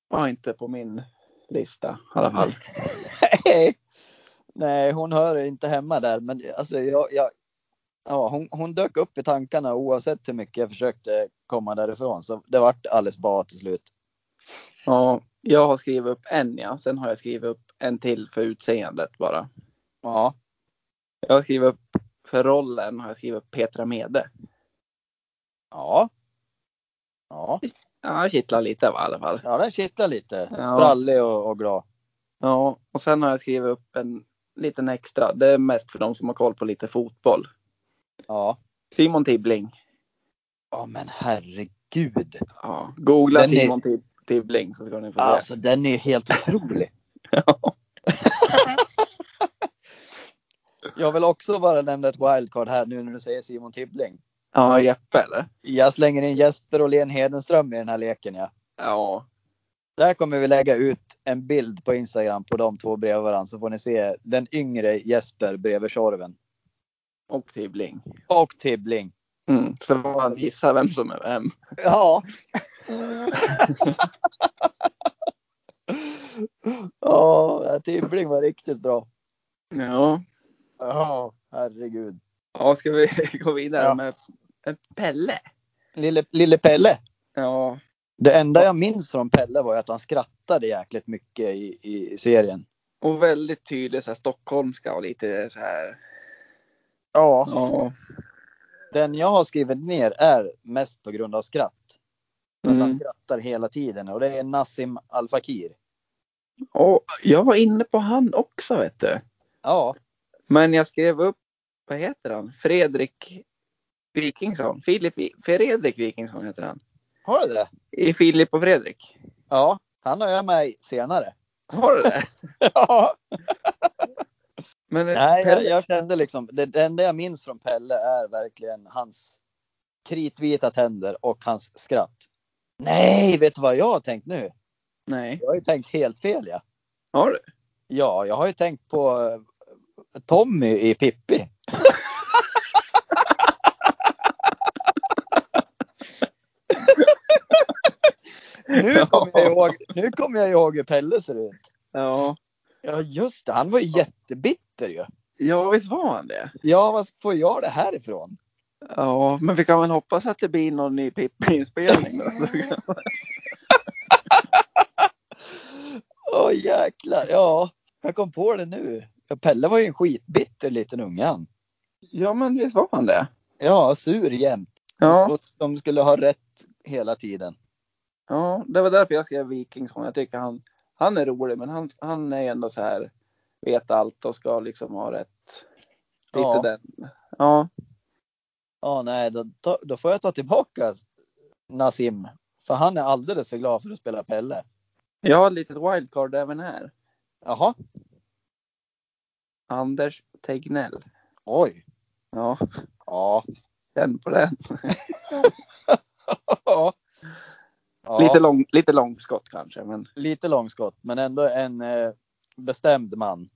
S2: var inte på min lista i alla fall.
S1: (laughs) Nej, hon hör inte hemma där, men det- alltså jag, jag ja, hon, hon dök upp i tankarna oavsett hur mycket jag försökte komma därifrån. Så det vart Alice Ba till slut.
S2: Ja, jag har skrivit upp en ja, sen har jag skrivit upp en till för utseendet bara.
S1: Ja,
S2: Jag skriver upp, för rollen har jag skrivit upp Petra Mede.
S1: ja. Ja,
S2: Ja, kittlar lite va, i alla fall.
S1: ja den kittlar lite.
S2: Ja.
S1: Sprallig och, och glad.
S2: Ja, och sen har jag skrivit upp en liten extra. Det är mest för de som har koll på lite fotboll.
S1: Ja.
S2: Simon Tibbling.
S1: Ja, men herregud.
S2: Ja, googla
S1: Den är-
S2: Simon Tib- Tibbling så ska ni få se.
S1: Alltså den är ju helt otrolig.
S2: (laughs)
S1: Jag vill också bara nämna ett wildcard här nu när du säger Simon Tibbling.
S2: Ja, Jeppe eller?
S1: Jag slänger in Jesper och Len Hedenström i den här leken. Ja.
S2: Ja,
S1: Där kommer vi lägga ut en bild på Instagram på de två bredvid varandra så får ni se den yngre Jesper bredvid Tjorven.
S2: och Tibbling.
S1: Och Tibbling.
S2: Mm, så får man gissa vem som är vem.
S1: Ja. (laughs) Ja, Tibbling var riktigt bra.
S2: Ja,
S1: Ja, herregud.
S2: ja ska vi (laughs) gå vidare
S1: Ja.
S2: med Pelle?
S1: Lille, lille Pelle.
S2: Ja,
S1: Det enda jag minns från Pelle var ju att han skrattade jäkligt mycket i, i serien.
S2: och väldigt tydlig så här, stockholmska och lite så här.
S1: Ja.
S2: Ja,
S1: Den jag har skrivit ner är mest på grund av skratt. Att han
S2: mm.
S1: skrattar hela tiden och det är Nassim Al Fakir.
S2: och jag var inne på han också vet du.
S1: Ja,
S2: Men jag skrev upp, vad heter han? Fredrik Wikingsson. Filip, Vi- Fredrik Wikingsson heter han.
S1: har du det?
S2: I Filip och Fredrik.
S1: Ja, han har jag med senare.
S2: Har du det?
S1: (laughs) Ja.
S2: Men
S1: Nej, jag,
S2: Pelle,
S1: jag kände liksom, det, det enda jag minns från Pelle är verkligen hans kritvita tänder och hans skratt. Nej, vet du vad jag har tänkt nu?
S2: Nej.
S1: Jag har ju tänkt helt fel ja.
S2: Har du?
S1: Ja, jag har ju tänkt på eh, Tommy i Pippi. Nu kommer jag ihåg, nu kommer jag ihåg hur Pelle ser ut.
S2: Ja.
S1: Ja, just det. Han var ju jättebitter ju.
S2: ja, visst var han det?
S1: Ja, vad får jag det här ifrån?
S2: Ja, men vi kan väl hoppas att det blir någon ny Pippi-inspelning.
S1: (laughs)
S2: då.
S1: Åh jäklar. Ja, jag kom på det nu. Ja, Pelle var ju en skitbitter liten unge han.
S2: ja, men visst var han det?
S1: Ja, sur jämt.
S2: Ja,
S1: Och de skulle ha rätt hela tiden.
S2: ja, det var därför jag skrev Wikingsson. Jag tycker han, han är rolig, men han, han är ändå så här, vet allt och ska liksom ha rätt. Lite
S1: Ja.
S2: den. Ja,
S1: Ja, nej, då, ta- då får jag ta tillbaka Nassim. För han är alldeles för glad för att spela Pelle.
S2: jag har ett litet wildcard även här.
S1: Jaha,
S2: Anders Tegnell.
S1: oj.
S2: Ja,
S1: Ja.
S2: känn på den.
S1: (laughs) ja.
S2: Lite, lång, lite långskott kanske, men
S1: lite långskott, men ändå en eh, bestämd man.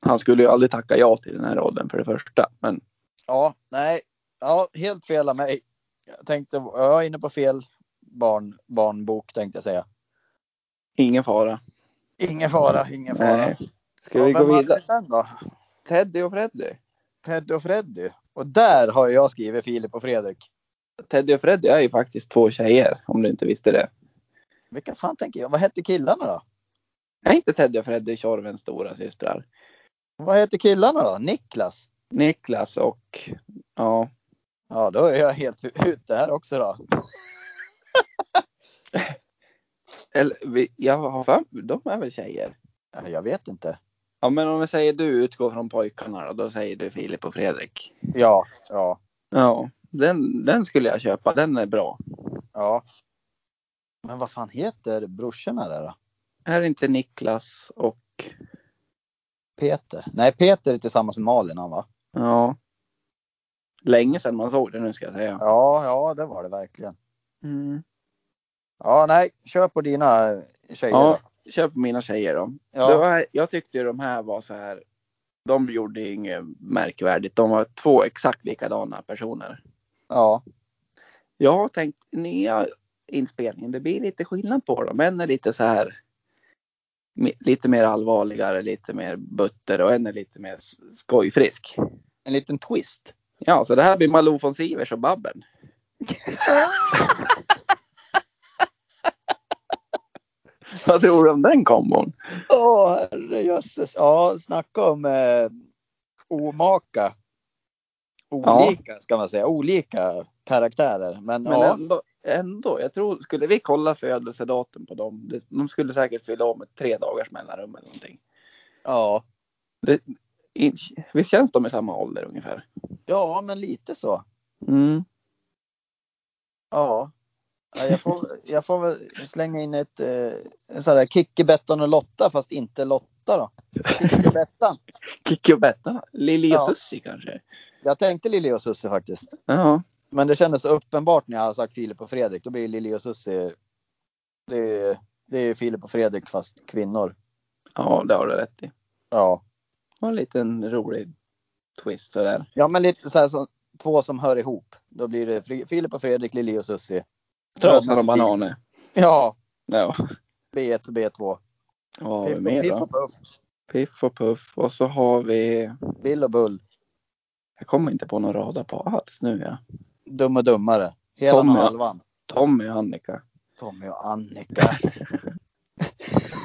S2: han skulle ju aldrig tacka ja till den här rollen för det första. Men
S1: Ja, nej. Ja, helt fel av mig. Jag tänkte, jag är inne på fel barn, barnbok tänkte jag säga.
S2: ingen fara.
S1: Ingen fara, ingen fara.
S2: Nej. Ska
S1: Ja,
S2: vi
S1: vem
S2: gå
S1: hade
S2: vidare?
S1: vi sen då?
S2: Teddy och Freddy.
S1: Teddy och Freddy. Och där har jag skrivit Filip och Fredrik.
S2: Teddy och Freddy är ju faktiskt två tjejer, om du inte visste det.
S1: Vilka fan tänker jag? Vad hette killarna då?
S2: Är inte Teddy och Freddy Tjorvens stora systrar?
S1: Vad heter killarna då? Niklas?
S2: Niklas och... Ja.
S1: Ja, då är jag helt ute här också då.
S2: Eller, vi, jag har för de är väl tjejer?
S1: Ja, Jag vet inte.
S2: Ja, men om vi säger du utgår från pojkarna då, då säger du Filip och Fredrik.
S1: Ja, ja,
S2: Ja, den, den skulle jag köpa. Den är bra.
S1: ja. Men vad fan heter brorsorna där då?
S2: Här är inte Niklas och...
S1: Peter? Nej, Peter är tillsammans med Malin han va?
S2: Ja. Länge sedan man såg det nu ska jag säga.
S1: Ja, ja, det var det verkligen.
S2: Mm.
S1: Ja, nej, kör på dina tjejer.
S2: Ja,
S1: då.
S2: köp mina tjejer då.
S1: ja.
S2: Det var, jag tyckte ju de här var så här. De gjorde ju inget märkvärdigt. De var två exakt likadana personer.
S1: ja.
S2: Jag har tänkt nya inspelningen. Det blir lite skillnad på dem. En är lite så här. me- Lite mer allvarligare, lite mer butter och en är lite mer s- skojfrisk.
S1: En liten twist.
S2: Ja, så det här blir Malou von Sivers och Babben. (laughs) Vad tror du om den kombon?
S1: Åh, herrejösses. Ja, snacka om eh, omaka. Olika ska man säga. Olika karaktärer. Men,
S2: Men
S1: ja,
S2: ändå, ändå, jag tror, skulle vi kolla födelsedatum på dem, det- de skulle säkert fylla om med tre dagars mellanrum eller någonting.
S1: ja,
S2: I- Visst känns de i samma ålder ungefär?
S1: ja, men lite så.
S2: Mm.
S1: Ja. Ja, Jag får, jag får väl slänga in ett eh, en sån där Kickebettan och Lotta fast inte Lotta då. Kickebettan.
S2: Kikki och Bettan, Lili och
S1: Ja.
S2: Sussi kanske?
S1: Jag tänkte Lili och Susie faktiskt.
S2: Ja.
S1: Men det kändes så uppenbart när jag hade sagt Filip och Fredrik. Då blir Lili och Susie. Det är, det är Filip och Fredrik fast kvinnor.
S2: ja, det har du rätt i.
S1: Ja,
S2: Och en liten rolig twist sådär.
S1: ja men lite så här som två som hör ihop. Då blir det Fri- Filip och Fredrik, Lili och Susie.
S2: Trösan och bananer.
S1: Ja,
S2: Ja.
S1: B1 och B2.
S2: Vad har vi
S1: Piff,
S2: mer
S1: och, piff
S2: då?
S1: och Puff,
S2: Piff och Puff. Och så har vi...
S1: Bill och Bull,
S2: Jag kommer inte på någon rada på alls nu ja.
S1: Dum och Dummare. Hela
S2: Tommy.
S1: och halvan.
S2: Tommy och Annika.
S1: Tommy och Annika.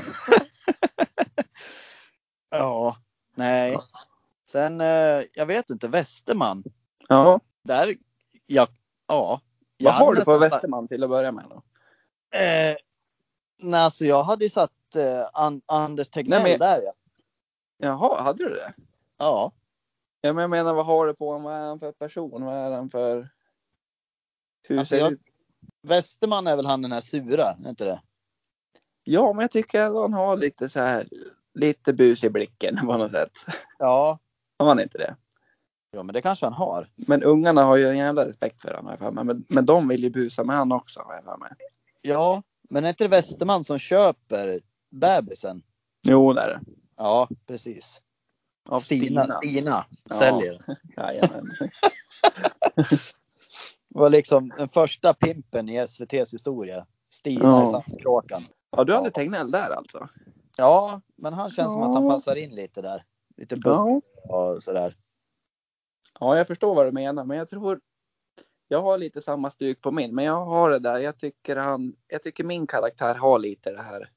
S1: (laughs) ja, nej. Sen, eh, jag vet inte, Västerman.
S2: Ja.
S1: Där, ja. ja alltså- Jag
S2: Vad
S1: hade
S2: har du på
S1: nästan sagt-
S2: Västerman till att börja med då?
S1: Eh, nej, alltså jag hade ju satt eh, An- Anders Tegnell
S2: Nej, men-
S1: där. Ja.
S2: Jaha, hade du det?
S1: ja.
S2: Ja, men jag menar vad har du på honom? Vad är han för person? Vad är han för... Hur
S1: Alltså,
S2: ser
S1: jag-
S2: ut?
S1: Västerman är väl han den här sura, är inte det?
S2: Ja, men jag tycker att han har lite så här... Lite bus i blicken på något sätt.
S1: Ja.
S2: Har han inte det?
S1: Ja, men det kanske han har.
S2: Men ungarna har ju en jävla respekt för honom, har jag för mig. Men, men de vill ju busa med han också, har jag för mig.
S1: Ja, men är inte det Västerman som köper bebisen?
S2: Jo, det är det.
S1: Ja, precis.
S2: Av
S1: Stina, Stina
S2: Ja.
S1: säljer.
S2: Jajamän.
S1: var liksom den första pimpen i SVTs historia. Stina
S2: Ja.
S1: i Sandkråkan.
S2: Ja, du hade Tegnell där alltså?
S1: Ja, men han känns som att han
S2: Ja.
S1: passar in lite där. Lite butt och sådär.
S2: Ja, jag förstår vad du menar, men jag tror... Jag har lite samma styrk på min, men jag har det där. Jag tycker, han, jag tycker min karaktär har lite det här...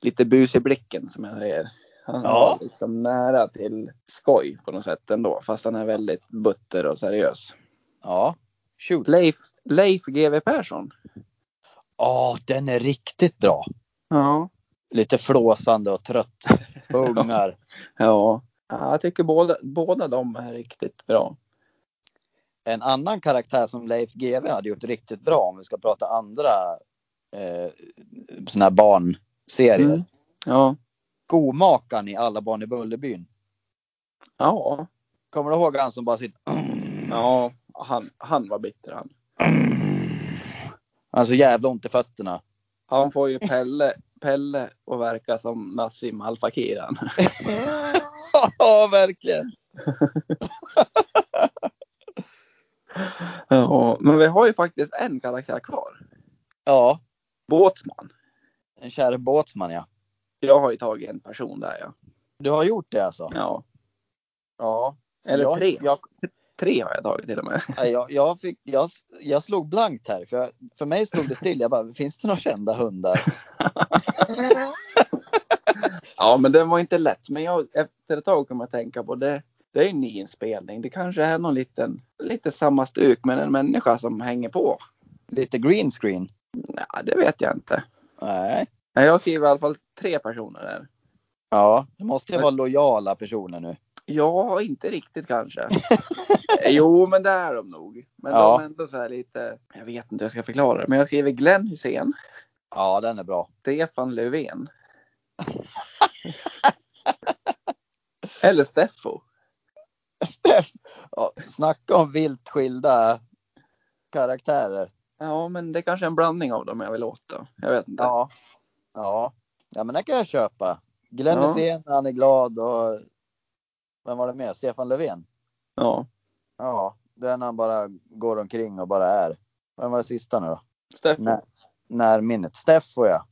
S2: Lite bus i blicken, som jag säger. Han
S1: Ja.
S2: har liksom nära till skoj på något sätt ändå, fast han är väldigt butter och seriös.
S1: Ja. Shoot.
S2: Leif, Leif GW Persson.
S1: Ja, den är riktigt bra.
S2: Ja.
S1: Lite flåsande och trött. Ungar.
S2: Ja. ja jag tycker båda, båda de är riktigt bra.
S1: En annan karaktär som Leif GW hade gjort riktigt bra om vi ska prata andra eh, såna här barnserier.
S2: Mm. Ja.
S1: Skomakaren i Alla barn i Bullerbyn.
S2: Ja.
S1: Kommer du ihåg han som bara sitter...
S2: Ja. Han, han var bitter han.
S1: Han har så jävla ont i
S2: (laughs)
S1: fötterna.
S2: Han får ju Pelle, Pelle att verka som Nassim Al Fakir. han.
S1: ja, verkligen.
S2: Ja, men vi har ju faktiskt en karaktär kvar.
S1: Ja,
S2: Båtsman.
S1: en kär båtsman ja.
S2: Jag har ju tagit en person där ja.
S1: Du har gjort det alltså?
S2: ja.
S1: Ja.
S2: Eller
S1: jag,
S2: tre.
S1: Jag,
S2: Tre har jag tagit till och med.
S1: nej, jag, jag, fick, jag, jag slog blankt här. För, jag, för mig stod det still. Jag bara, finns det några kända
S2: (laughs)
S1: hundar?
S2: Ja, men den var inte lätt. Men jag, efter ett tag kom jag att tänka på det. Det är ju en ny inspelning. Det kanske är någon liten, lite samma stuk, men en människa som hänger på.
S1: Lite green screen?
S2: Nej, det vet jag inte.
S1: Nej.
S2: Nej, Jag skriver i alla fall tre personer där.
S1: Ja, det måste ju vara lojala personer nu.
S2: Ja, inte
S1: (laughs)
S2: riktigt kanske. jo, men det är de nog. Men
S1: Ja.
S2: de är ändå så här lite, jag vet inte hur jag ska förklara det, men jag skriver Glenn Hussein,
S1: Ja, den är bra. (laughs)
S2: Stefan Löfven. Eller Steffo.
S1: Steff! Ja, snacka om vilt skilda karaktärer.
S2: Ja, men det är kanske är en blandning av dem jag vill åt då. Jag vet inte.
S1: Ja. Ja, ja men det kan jag köpa. Glenn
S2: Ja.
S1: Hysén, han är glad och vem var det mer? Stefan Löfven?
S2: Ja.
S1: Ja, den han bara går omkring och bara är. Vem var det sista nu då?
S2: Steffo.
S1: När, närminnet. Steffo ja.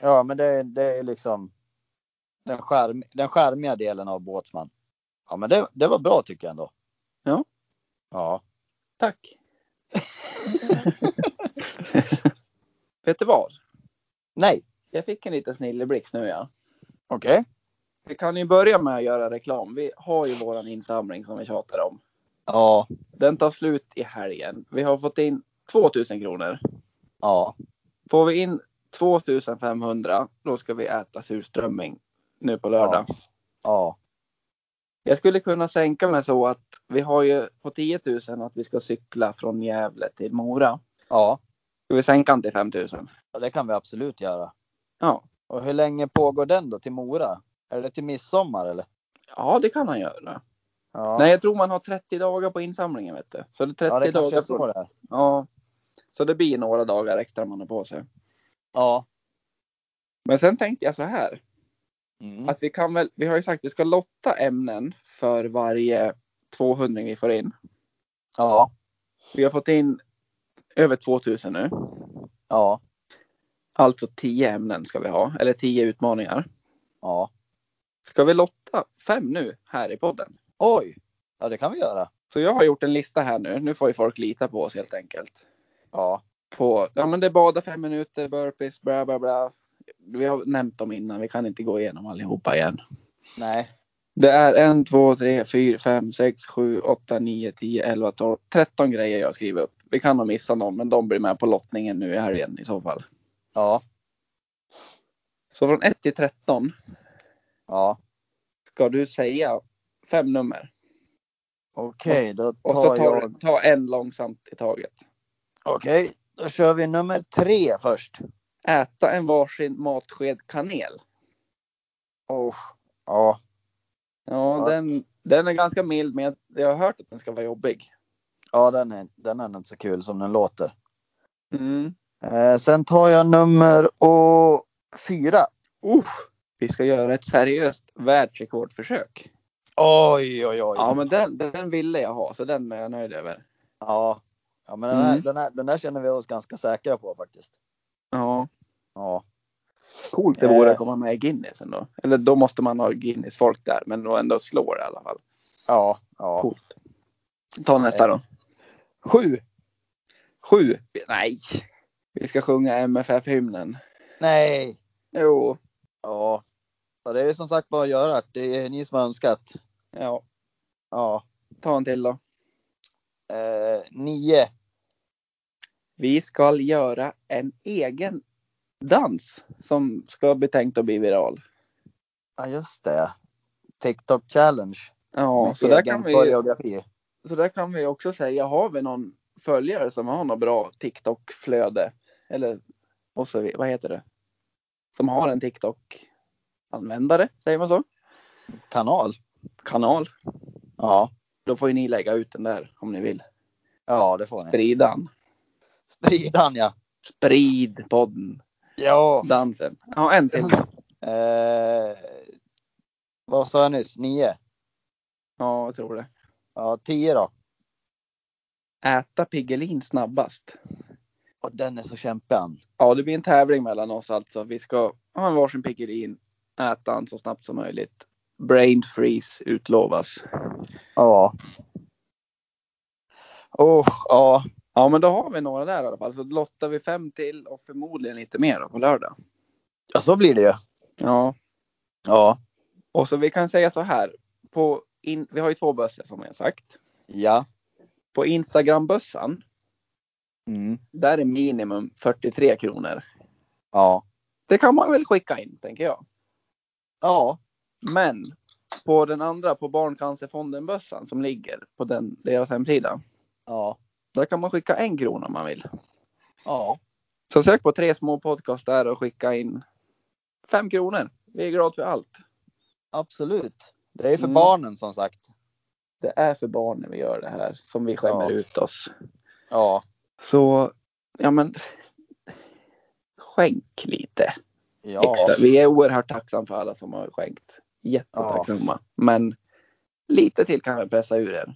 S1: Ja, men det, det är liksom den, skärm, den skärmiga delen av Båtsman. Ja, men det, det var bra tycker jag ändå.
S2: Ja.
S1: Ja. (laughs)
S2: Tack. vet du vad?
S1: Nej,
S2: Jag fick en liten snilleblixt nu ja.
S1: Okej.
S2: Vi kan ju börja med att göra reklam. Vi har ju våran insamling som vi tjatar om.
S1: Ja,
S2: Den tar slut i helgen. Vi har fått in 2000 kronor.
S1: ja.
S2: Får vi in 2500 då ska vi äta surströmming nu på lördag.
S1: Ja,
S2: Jag skulle kunna sänka mig så att vi har ju på 10 000 att vi ska cykla från Gävle till Mora.
S1: ja,
S2: Ska vi sänka den till 5 000?
S1: Ja, det kan vi absolut göra.
S2: Ja.
S1: Och hur länge pågår den då till Mora? Är det till midsommar eller?
S2: Ja, det kan han göra.
S1: Ja,
S2: Nej, jag tror man har 30 dagar på insamlingen. Vet du. Så det är 30
S1: ja det kanske
S2: dagar
S1: jag
S2: på...
S1: står där.
S2: Ja. Så det blir några dagar extra man har på sig.
S1: Ja.
S2: Men sen tänkte jag så här.
S1: Mm.
S2: Att vi kan väl, vi har ju sagt att vi ska lotta ämnen för varje 200 vi får in.
S1: Ja,
S2: Vi har fått in över 2000 nu.
S1: ja,
S2: Alltså 10 ämnen ska vi ha, eller 10 utmaningar.
S1: ja.
S2: Ska vi lotta fem nu här i podden?
S1: Oj! Ja, det kan vi göra.
S2: Så jag har gjort en lista här nu. Nu får ju folk lita på oss helt enkelt.
S1: Ja,
S2: På, ja men det är bada fem minuter, burpees, bla bla bla. Vi har nämnt dem innan, vi kan inte gå igenom allihopa igen.
S1: nej.
S2: Det är en, två, tre, fyra, fem, sex, sju, åtta, nio, tio, elva, tolv, tretton grejer jag skriver upp. Vi kan ha missat någon, men de blir med på lottningen nu i helgen i så fall.
S1: Ja,
S2: Så från 1 till 13
S1: ja.
S2: ska du säga fem nummer.
S1: Okej, då
S2: Och så
S1: tar
S2: tar,
S1: jag...
S2: du- ta en långsamt i taget.
S1: Okej, då kör vi nummer tre först.
S2: Äta en varsin matsked kanel.
S1: Oh. Ja,
S2: Ja,
S1: Ja.
S2: Den, den är ganska mild, men jag har hört att den ska vara jobbig.
S1: ja den, är, den är nog inte så kul som den låter.
S2: Mm.
S1: Eh, sen tar jag nummer och fyra.
S2: Usch. vi ska göra ett seriöst världsrekordförsök.
S1: Oj, oj, oj.
S2: Ja, men den, den ville jag ha, så den är jag nöjd över.
S1: Ja, ja men den här,
S2: Mm.
S1: den, här, den här känner vi oss ganska säkra på faktiskt.
S2: Ja.
S1: Ja,
S2: Coolt det vore
S1: Eh.
S2: att komma med i Guinness ändå. Eller då måste man ha Guinness-folk där, men då ändå slår det i alla fall.
S1: ja, ja. Eh.
S2: Coolt. Ta nästa då.
S1: Sju.
S2: Sju. Nej. Vi ska sjunga MFF-hymnen.
S1: Nej.
S2: Jo.
S1: Ja, så det är som sagt bara att göra. att Det är ni som har önskat.
S2: Ja.
S1: Ja,
S2: Ta en till då.
S1: eh, nio.
S2: Vi ska göra en egen dans som ska bli tänkt att bli viral.
S1: Ja, just det. TikTok challenge.
S2: Ja,
S1: Med
S2: så där,
S1: egen
S2: kan vi,
S1: koreografi.
S2: så där kan vi också säga, har vi någon följare som har något bra TikTok-flöde? Eller och så, vid- vad heter det? Som har en TikTok-användare, säger man så?
S1: Kanal.
S2: kanal.
S1: Ja,
S2: Då får ju ni lägga ut den där om ni vill.
S1: ja, det får ni.
S2: Spridan.
S1: Spridan ja.
S2: Sprid podden.
S1: Ja.
S2: Dansen. Ja, en till.
S1: Eh, vad sa jag nyss? Nio.
S2: Ja, jag tror det.
S1: Ja, tio då.
S2: Äta Piggelin snabbast.
S1: Och den är så kämpig han.
S2: Ja, det blir en tävling mellan oss alltså. Vi ska ha en varsin Piggelin. Äta den så snabbt som möjligt. Brain freeze utlovas.
S1: Ja. Oh, ja.
S2: Ja, men då har vi några där i alla fall. Så lottar vi fem till och förmodligen lite mer då på lördag.
S1: Ja, så blir det ju.
S2: Ja,
S1: Ja.
S2: och så vi kan säga så här. På in... Vi har ju två bössor som jag sagt.
S1: Ja.
S2: På Instagram-bössan
S1: Mm.
S2: Där är minimum 43 kronor.
S1: Ja.
S2: Det kan man väl skicka in, tänker jag.
S1: Ja.
S2: Men på den andra, på Barncancerfonden-bössan som ligger på den, deras hemsida.
S1: Ja.
S2: Där kan man skicka en krona om man vill.
S1: Ja.
S2: Så sök på tre små podcast där och skicka in fem kronor. Vi är glada för allt.
S1: Absolut. Det är för
S2: Mm.
S1: barnen som sagt.
S2: Det är för barnen vi gör det här, som vi skämmer
S1: Ja.
S2: ut oss.
S1: Ja.
S2: Så, ja men. Skänk lite.
S1: Ja.
S2: Extra. Vi är oerhört tacksamma för alla som har skänkt. Jättetacksamma. Men lite till kan vi pressa ur er.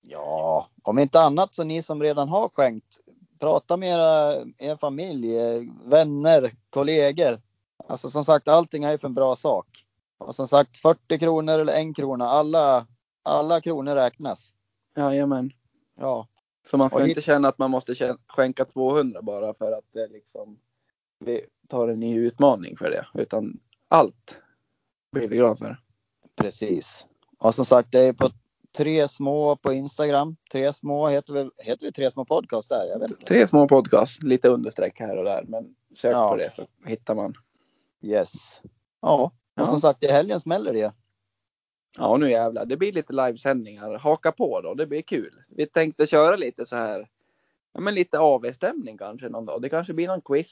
S1: Ja. Om inte annat så ni som redan har skänkt. Prata med era, er familj, eh, vänner, kollegor. Alltså som sagt, allting är ju för en bra sak. Och som sagt, 40 kronor eller en krona. Alla, alla kronor räknas.
S2: Jajamän.
S1: Ja.
S2: Så man ska
S1: Och hit-
S2: inte känna att man måste kä- skänka 200 bara för att det liksom vi tar en ny utmaning för det. Utan allt blir vi glada för.
S1: Precis. Och som sagt, det är på Tre Små på Instagram. Tre Små heter vi, heter vi Tre Små Podcast där? Jag vet inte.
S2: Tre små podcast, lite understreck här och där. Men sök
S1: Ja.
S2: på det så hittar man.
S1: Yes. Ja,
S2: Ja.
S1: och som sagt i helgen smäller det.
S2: Ja, nu jävlar. Det blir lite livesändningar. Haka på då, det blir kul. Vi tänkte köra lite så här. Ja, men lite AV-stämning kanske någon dag. Det kanske blir någon quiz.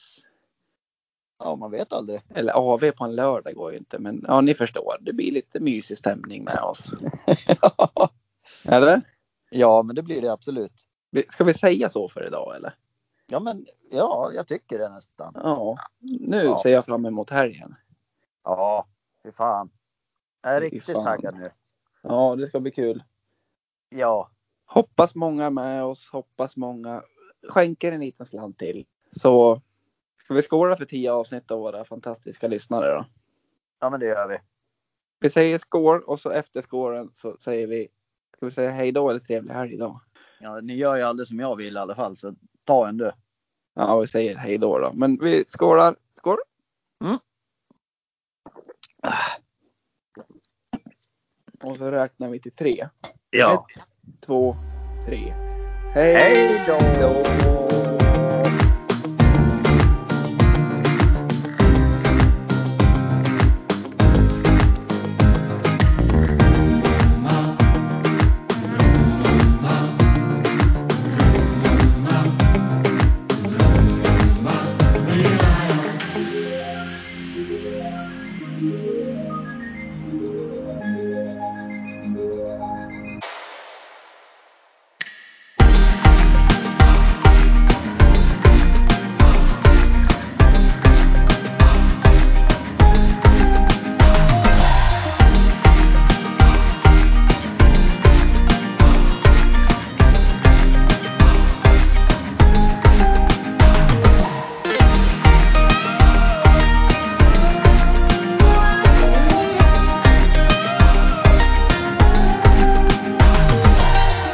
S1: Ja, man vet aldrig.
S2: Eller AV på en lördag går ju inte, men ja, ni förstår. Det blir lite mysig stämning med (laughs) oss. Eller?
S1: ja, men det blir det absolut.
S2: Vi- Ska vi säga så för idag eller?
S1: Ja, men ja, jag tycker det nästan.
S2: Ja, nu
S1: Ja.
S2: ser jag fram emot helgen.
S1: Ja, fy fan. Jag är
S2: Fy
S1: riktigt
S2: fan.
S1: taggad nu.
S2: Ja, det ska bli kul.
S1: Ja,
S2: Hoppas många är med oss, hoppas många skänker en liten slant till. Så ska vi skåla för tio avsnitt av våra fantastiska lyssnare då.
S1: ja men det gör vi.
S2: Vi säger skål och så efter skålen så säger vi, ska vi säga hej då eller trevlig helg då?
S1: Ja, ni gör ju aldrig som jag vill i alla fall, så ta en du.
S2: Ja, vi säger hej då då. Men vi skålar. Skål! Ah.
S1: Mm.
S2: Och så räknar vi till tre.
S1: Ja.
S2: Ett, två, tre.
S1: Hej då!